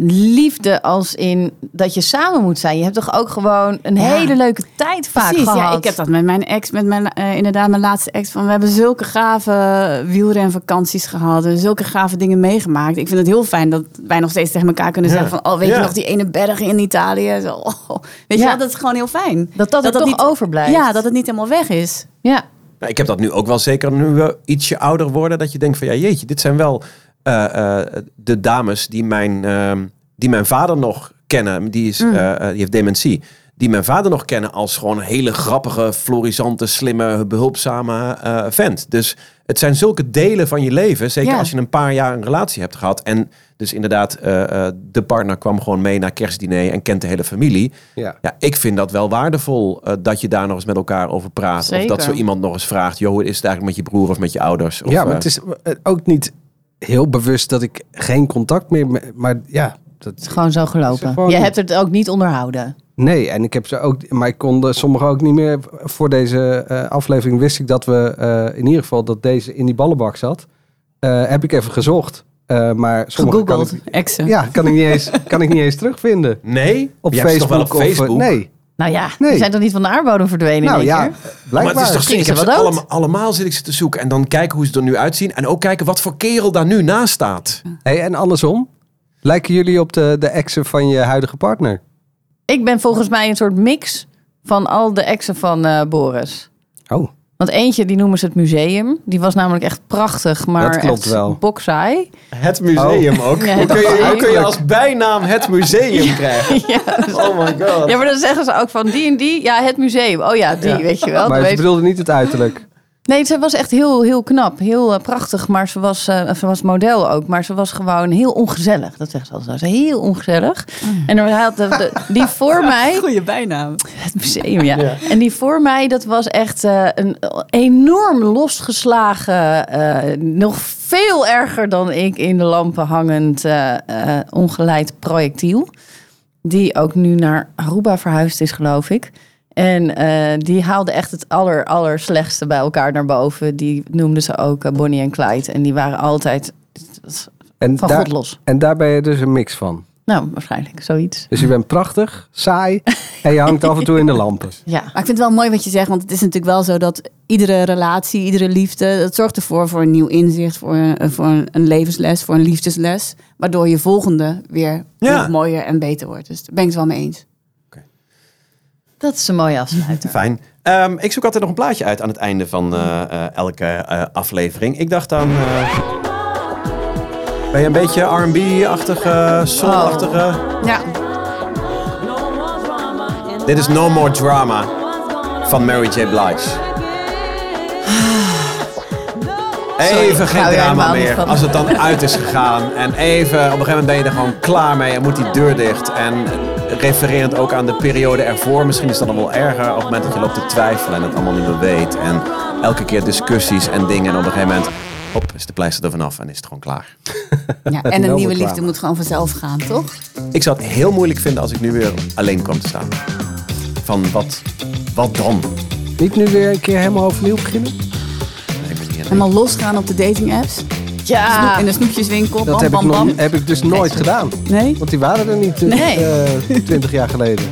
Speaker 2: liefde als in dat je samen moet zijn. Je hebt toch ook gewoon een
Speaker 5: Ja.
Speaker 2: hele leuke tijd vaak
Speaker 5: Precies,
Speaker 2: gehad.
Speaker 5: ja, ik heb dat met mijn ex, met mijn, eh, inderdaad mijn laatste ex. Van, we hebben zulke gave wielrenvakanties gehad. En zulke gave dingen meegemaakt. Ik vind het heel fijn dat wij nog steeds tegen elkaar kunnen
Speaker 1: Ja.
Speaker 5: zeggen van... Oh, weet
Speaker 1: Ja.
Speaker 5: je nog die ene berg in Italië? Zo, oh. Weet
Speaker 2: Ja.
Speaker 5: je wel, dat is gewoon heel fijn.
Speaker 2: Dat dat er toch overblijft.
Speaker 5: Ja, dat het niet helemaal weg is.
Speaker 2: Ja.
Speaker 1: nou, ik heb dat nu ook wel zeker nu we ietsje ouder worden. Dat je denkt van ja, jeetje, dit zijn wel eh, eh, de dames die mijn, ehm, die mijn vader nog kennen. Die, is, eh, eh, die heeft dementie. Die mijn vader nog kennen als gewoon een hele grappige, florisante, slimme, behulpzame eh, vent. Dus het zijn zulke delen van je leven. Zeker
Speaker 2: Ja.
Speaker 1: als je een paar jaar een relatie hebt gehad. En dus inderdaad, eh, eh, de partner kwam gewoon mee naar kerstdiner en kent de hele familie.
Speaker 3: Ja.
Speaker 1: Ja, ik vind dat wel waardevol eh, dat je daar nog eens met elkaar over praat.
Speaker 2: Zeker.
Speaker 1: Of dat zo iemand nog eens vraagt: joh, hoe is het eigenlijk met je broer of met je ouders? Of,
Speaker 3: ja, maar
Speaker 1: eh,
Speaker 3: het is eh, ook niet heel bewust dat ik geen contact meer... me- Maar ja, dat,
Speaker 2: Het is gewoon zo
Speaker 3: Het is
Speaker 2: gelopen.
Speaker 3: gewoon-
Speaker 2: Je hebt het ook niet onderhouden.
Speaker 3: Nee, en ik heb ze ook, maar ik kon de- sommige ook niet meer. Voor deze eh, aflevering wist ik dat we eh, in ieder geval dat deze in die ballenbak zat. Eh, heb ik even gezocht, Eh, maar sommige kan
Speaker 2: Gegoogeld.
Speaker 3: ik-
Speaker 5: Exen.
Speaker 3: ja, kan ik niet eens, kan ik niet eens terugvinden
Speaker 1: Nee,
Speaker 3: op
Speaker 1: Je hebt ze
Speaker 3: Facebook.
Speaker 1: toch wel op
Speaker 3: of, eh,
Speaker 1: Facebook.
Speaker 3: nee,
Speaker 2: Nou ja,
Speaker 3: Nee.
Speaker 2: die zijn toch niet van de aardbodem verdwenen?
Speaker 3: nou
Speaker 2: in één
Speaker 3: ja,
Speaker 2: keer?
Speaker 1: Maar
Speaker 3: blijkbaar.
Speaker 1: het is toch
Speaker 2: Gingen
Speaker 1: ziek. Ik heb
Speaker 2: ze
Speaker 1: ze
Speaker 2: wel dood?
Speaker 1: allemaal, allemaal zit ik ze te zoeken. En dan kijken hoe ze er nu uitzien. En ook kijken wat voor kerel daar nu naast staat.
Speaker 3: hey, en andersom, lijken jullie op de, de exen van je huidige partner?
Speaker 2: Ik ben volgens mij een soort mix van al de exen van eh, Boris.
Speaker 3: Oh,
Speaker 2: Want eentje, die noemen ze het museum. Die was namelijk echt prachtig, maar
Speaker 3: Dat klopt
Speaker 2: echt
Speaker 3: wel.
Speaker 2: boksaai.
Speaker 1: Het museum ook.
Speaker 2: Oh. Ja, Hoe kun je- hoe kun je
Speaker 1: als bijnaam het museum krijgen? Oh my god.
Speaker 2: Ja, maar dan zeggen ze ook van die en die. Ja, het museum. Oh ja, die, weet je wel. Dan
Speaker 3: maar ze
Speaker 2: weet-
Speaker 3: bedoelde niet het uiterlijk.
Speaker 2: Nee, ze was echt heel, heel knap. Heel eh, prachtig. Maar ze was, eh, ze was model ook. Maar ze was gewoon heel ongezellig. Dat zeggen ze altijd. Ze was heel ongezellig. En dan had de, de- die voor mij...
Speaker 5: Goeie bijnaam.
Speaker 2: Het museum, ja. En die voor mij, dat was echt eh, een enorm losgeslagen, eh, nog veel erger dan ik in de lampen hangend eh, eh, ongeleid projectiel. Die ook nu naar Aruba verhuisd is, geloof ik. En eh, die haalde echt het aller, aller slechtste bij elkaar naar boven. Die noemden ze ook eh, Bonnie en Clyde. En die waren altijd
Speaker 3: En,
Speaker 2: van
Speaker 3: daar,
Speaker 2: God los.
Speaker 3: en daar ben je dus een mix van.
Speaker 2: Nou, waarschijnlijk zoiets.
Speaker 3: Dus je bent prachtig, saai en je hangt af en toe in de lampen.
Speaker 2: Ja.
Speaker 5: Maar ik vind het wel mooi wat je zegt, want het is natuurlijk wel zo dat iedere relatie, iedere liefde, dat zorgt ervoor voor een nieuw inzicht, voor een, voor een, een levensles, voor een liefdesles, waardoor je volgende weer
Speaker 1: Ja.
Speaker 5: nog mooier en beter wordt. Dus daar ben ik het wel mee eens.
Speaker 2: Dat is een mooie afsluiter.
Speaker 1: Fijn. Ehm, ik zoek altijd nog een plaatje uit aan het einde van eh, eh, elke eh, aflevering. Ik dacht aan. eh, ben je een beetje RB-achtige, soul-achtige.
Speaker 2: Ja.
Speaker 1: Dit is No More Drama van Mary J. Blige. Even geen
Speaker 2: hou jij
Speaker 1: drama
Speaker 2: helemaal niet
Speaker 1: meer
Speaker 2: van.
Speaker 1: als het dan uit is gegaan. En even, op een gegeven moment ben je er gewoon klaar mee en moet die deur dicht. En refererend ook aan de periode ervoor, misschien is dat nog wel erger. Op het moment dat je loopt te twijfelen en het allemaal niet meer weet. En elke keer discussies en dingen. En op een gegeven moment, hop, is de pleister er vanaf en is het gewoon klaar.
Speaker 5: Ja, en een
Speaker 3: Nou,
Speaker 5: nieuwe
Speaker 3: reclame.
Speaker 5: liefde moet gewoon vanzelf gaan, toch?
Speaker 1: Ik zou het heel moeilijk vinden als ik nu weer alleen kwam te staan. Van wat, wat dan?
Speaker 3: Niet nu weer een keer helemaal overnieuw beginnen?
Speaker 1: Nee, ik ben niet alleen.
Speaker 5: Helemaal losgaan op de dating apps,
Speaker 1: Ah.
Speaker 2: Ja.
Speaker 5: in de snoepjeswinkel,
Speaker 3: Dat
Speaker 5: bam,
Speaker 3: heb,
Speaker 5: bam,
Speaker 3: ik
Speaker 5: bam.
Speaker 3: nog, heb ik dus nooit gedaan.
Speaker 5: Nee?
Speaker 3: eh, Want die waren er niet
Speaker 2: Nee.
Speaker 3: twintig jaar geleden.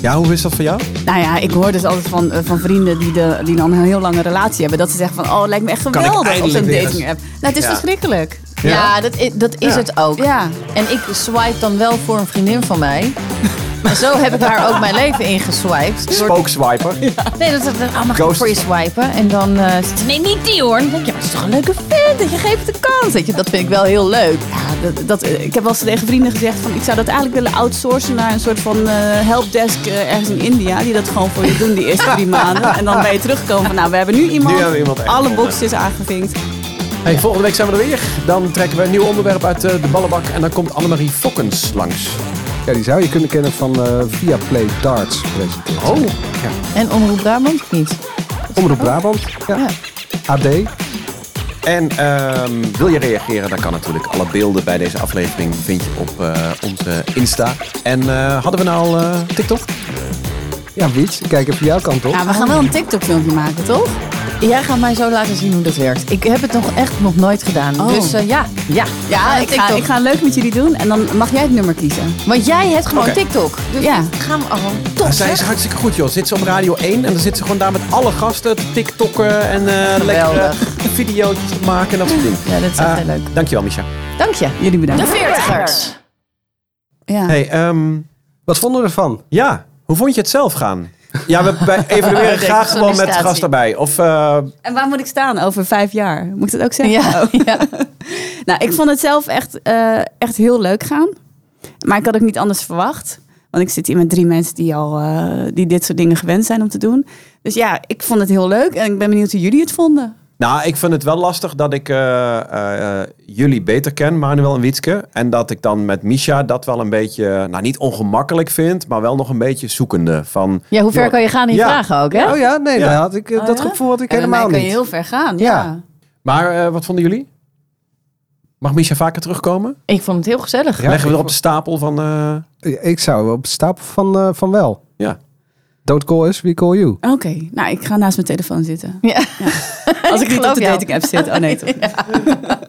Speaker 1: Ja, hoe is dat voor jou?
Speaker 5: Nou ja, ik hoor dus altijd van, eh, van vrienden die, de, die dan een heel lange relatie hebben. Dat ze zeggen van, oh, het lijkt me echt
Speaker 1: ik
Speaker 5: geweldig op
Speaker 1: eindelijk
Speaker 5: zo'n
Speaker 1: weer
Speaker 5: dating app. Nou, het is
Speaker 1: Ja.
Speaker 5: verschrikkelijk.
Speaker 2: Ja, dat, i- dat is het ook.
Speaker 5: Ja.
Speaker 2: En ik swipe dan wel voor een vriendin van mij. En zo heb ik haar ook mijn leven ingeswiped. Door-
Speaker 1: Spookswiper.
Speaker 2: Nee, dat is allemaal mag ik
Speaker 1: Ghost.
Speaker 2: voor je swipen. En dan eh, zegt ze, nee, niet die hoor. En dan denk je, maar het is toch een leuke vent. En je geeft het de kans. Weet je, dat vind ik wel heel leuk.
Speaker 5: Ja, dat, dat, eh, ik heb wel eens tegen vrienden gezegd van, ik zou dat eigenlijk willen outsourcen naar een soort van eh, helpdesk eh, ergens in India. Die dat gewoon voor je doen die eerste drie maanden. En dan ben je terugkomen van, nou, we hebben nu iemand.
Speaker 1: Nu hebben we iemand echt.
Speaker 5: alle boxjes aangevinkt.
Speaker 1: Hey, volgende week zijn we er weer. Dan trekken we een nieuw onderwerp uit eh, de ballenbak. En dan komt Annemarie Fokkens langs.
Speaker 3: Ja, die zou je kunnen kennen van eh Via Play Darts presenteren.
Speaker 1: Oh,
Speaker 2: En Omroep Brabant niet.
Speaker 3: Omroep Brabant. Ja.
Speaker 2: Ja.
Speaker 3: AD.
Speaker 1: En ehm, wil je reageren? Dan kan natuurlijk. Alle beelden bij deze aflevering vind je op eh, onze Insta. En eh, hadden we nou al eh, TikTok?
Speaker 3: Ja, Wiets, ik kijk even jouw kant op.
Speaker 5: Ja, we gaan wel een TikTok-filmpje maken, toch?
Speaker 2: Jij gaat mij zo laten zien hoe dat werkt. Ik heb het nog echt nog nooit gedaan.
Speaker 5: Oh.
Speaker 2: Dus eh, ja, ja.
Speaker 5: Ja, ik ga,
Speaker 2: TikTok.
Speaker 5: ik ga leuk met jullie doen en dan mag jij het nummer kiezen.
Speaker 2: Want jij hebt gewoon
Speaker 1: Oké.
Speaker 2: TikTok. Dus
Speaker 5: Ja.
Speaker 2: ik ga hem gewoon
Speaker 1: Ja,
Speaker 2: top.
Speaker 1: zij is
Speaker 2: zeg.
Speaker 1: hartstikke goed, joh. Zit ze op Radio 1 en dan zit ze gewoon daar met alle gasten te tiktokken en eh lekkere
Speaker 2: Geweldig.
Speaker 1: video's te maken en dat soort dingen.
Speaker 2: Ja, dat is echt
Speaker 1: Eh,
Speaker 2: heel leuk.
Speaker 1: Dankjewel, Micha.
Speaker 2: Dank je.
Speaker 5: Jullie
Speaker 2: De
Speaker 5: bedankt.
Speaker 2: veertigers.
Speaker 5: Ja.
Speaker 1: Hey, ehm,
Speaker 3: Wat vonden we ervan?
Speaker 1: ja, hoe vond je het zelf gaan? Ja, we wij evalueren graag gewoon met
Speaker 2: sollicitatie.
Speaker 1: gast erbij. Of, eh,
Speaker 5: En waar moet ik staan over vijf jaar? Moet ik dat ook zeggen?
Speaker 2: Ja,
Speaker 5: Oh.
Speaker 2: ja.
Speaker 5: Nou, ik vond het zelf echt, eh, echt heel leuk gaan. Maar ik had ook niet anders verwacht. Want ik zit hier met drie mensen die, al, eh, die dit soort dingen gewend zijn om te doen. Dus ja, ik vond het heel leuk. En ik ben benieuwd hoe jullie het vonden.
Speaker 1: nou, ik vind het wel lastig dat ik eh, eh, eh, jullie beter ken, Manuel en Wietske. En dat ik dan met Micha dat wel een beetje, nou niet ongemakkelijk vind, maar wel nog een beetje zoekende. Van,
Speaker 2: ja hoe ver
Speaker 1: joh,
Speaker 2: kan je gaan in je
Speaker 1: Ja.
Speaker 2: vragen ook, hè?
Speaker 3: Oh ja, nee,
Speaker 1: Ja.
Speaker 3: daar had ik, eh,
Speaker 5: Oh
Speaker 3: dat
Speaker 5: ja?
Speaker 3: gevoel had ik
Speaker 5: En bij mij
Speaker 3: helemaal
Speaker 5: kun je
Speaker 3: niet.
Speaker 5: heel ver gaan.
Speaker 3: Ja.
Speaker 5: Ja.
Speaker 1: Maar eh, wat vonden jullie? Mag Micha vaker terugkomen?
Speaker 2: Ik vond het heel gezellig.
Speaker 3: Ja,
Speaker 1: Leggen we
Speaker 3: ik
Speaker 1: er op de stapel van... eh,
Speaker 3: Ik zou op de stapel van, eh, van wel.
Speaker 1: ja.
Speaker 3: Don't call us, we call you.
Speaker 5: Oké, nou ik ga naast mijn telefoon zitten.
Speaker 2: Ja.
Speaker 5: Als ik, niet op
Speaker 2: geloof
Speaker 5: de
Speaker 2: jou.
Speaker 5: dating app zit. Oh nee, toch?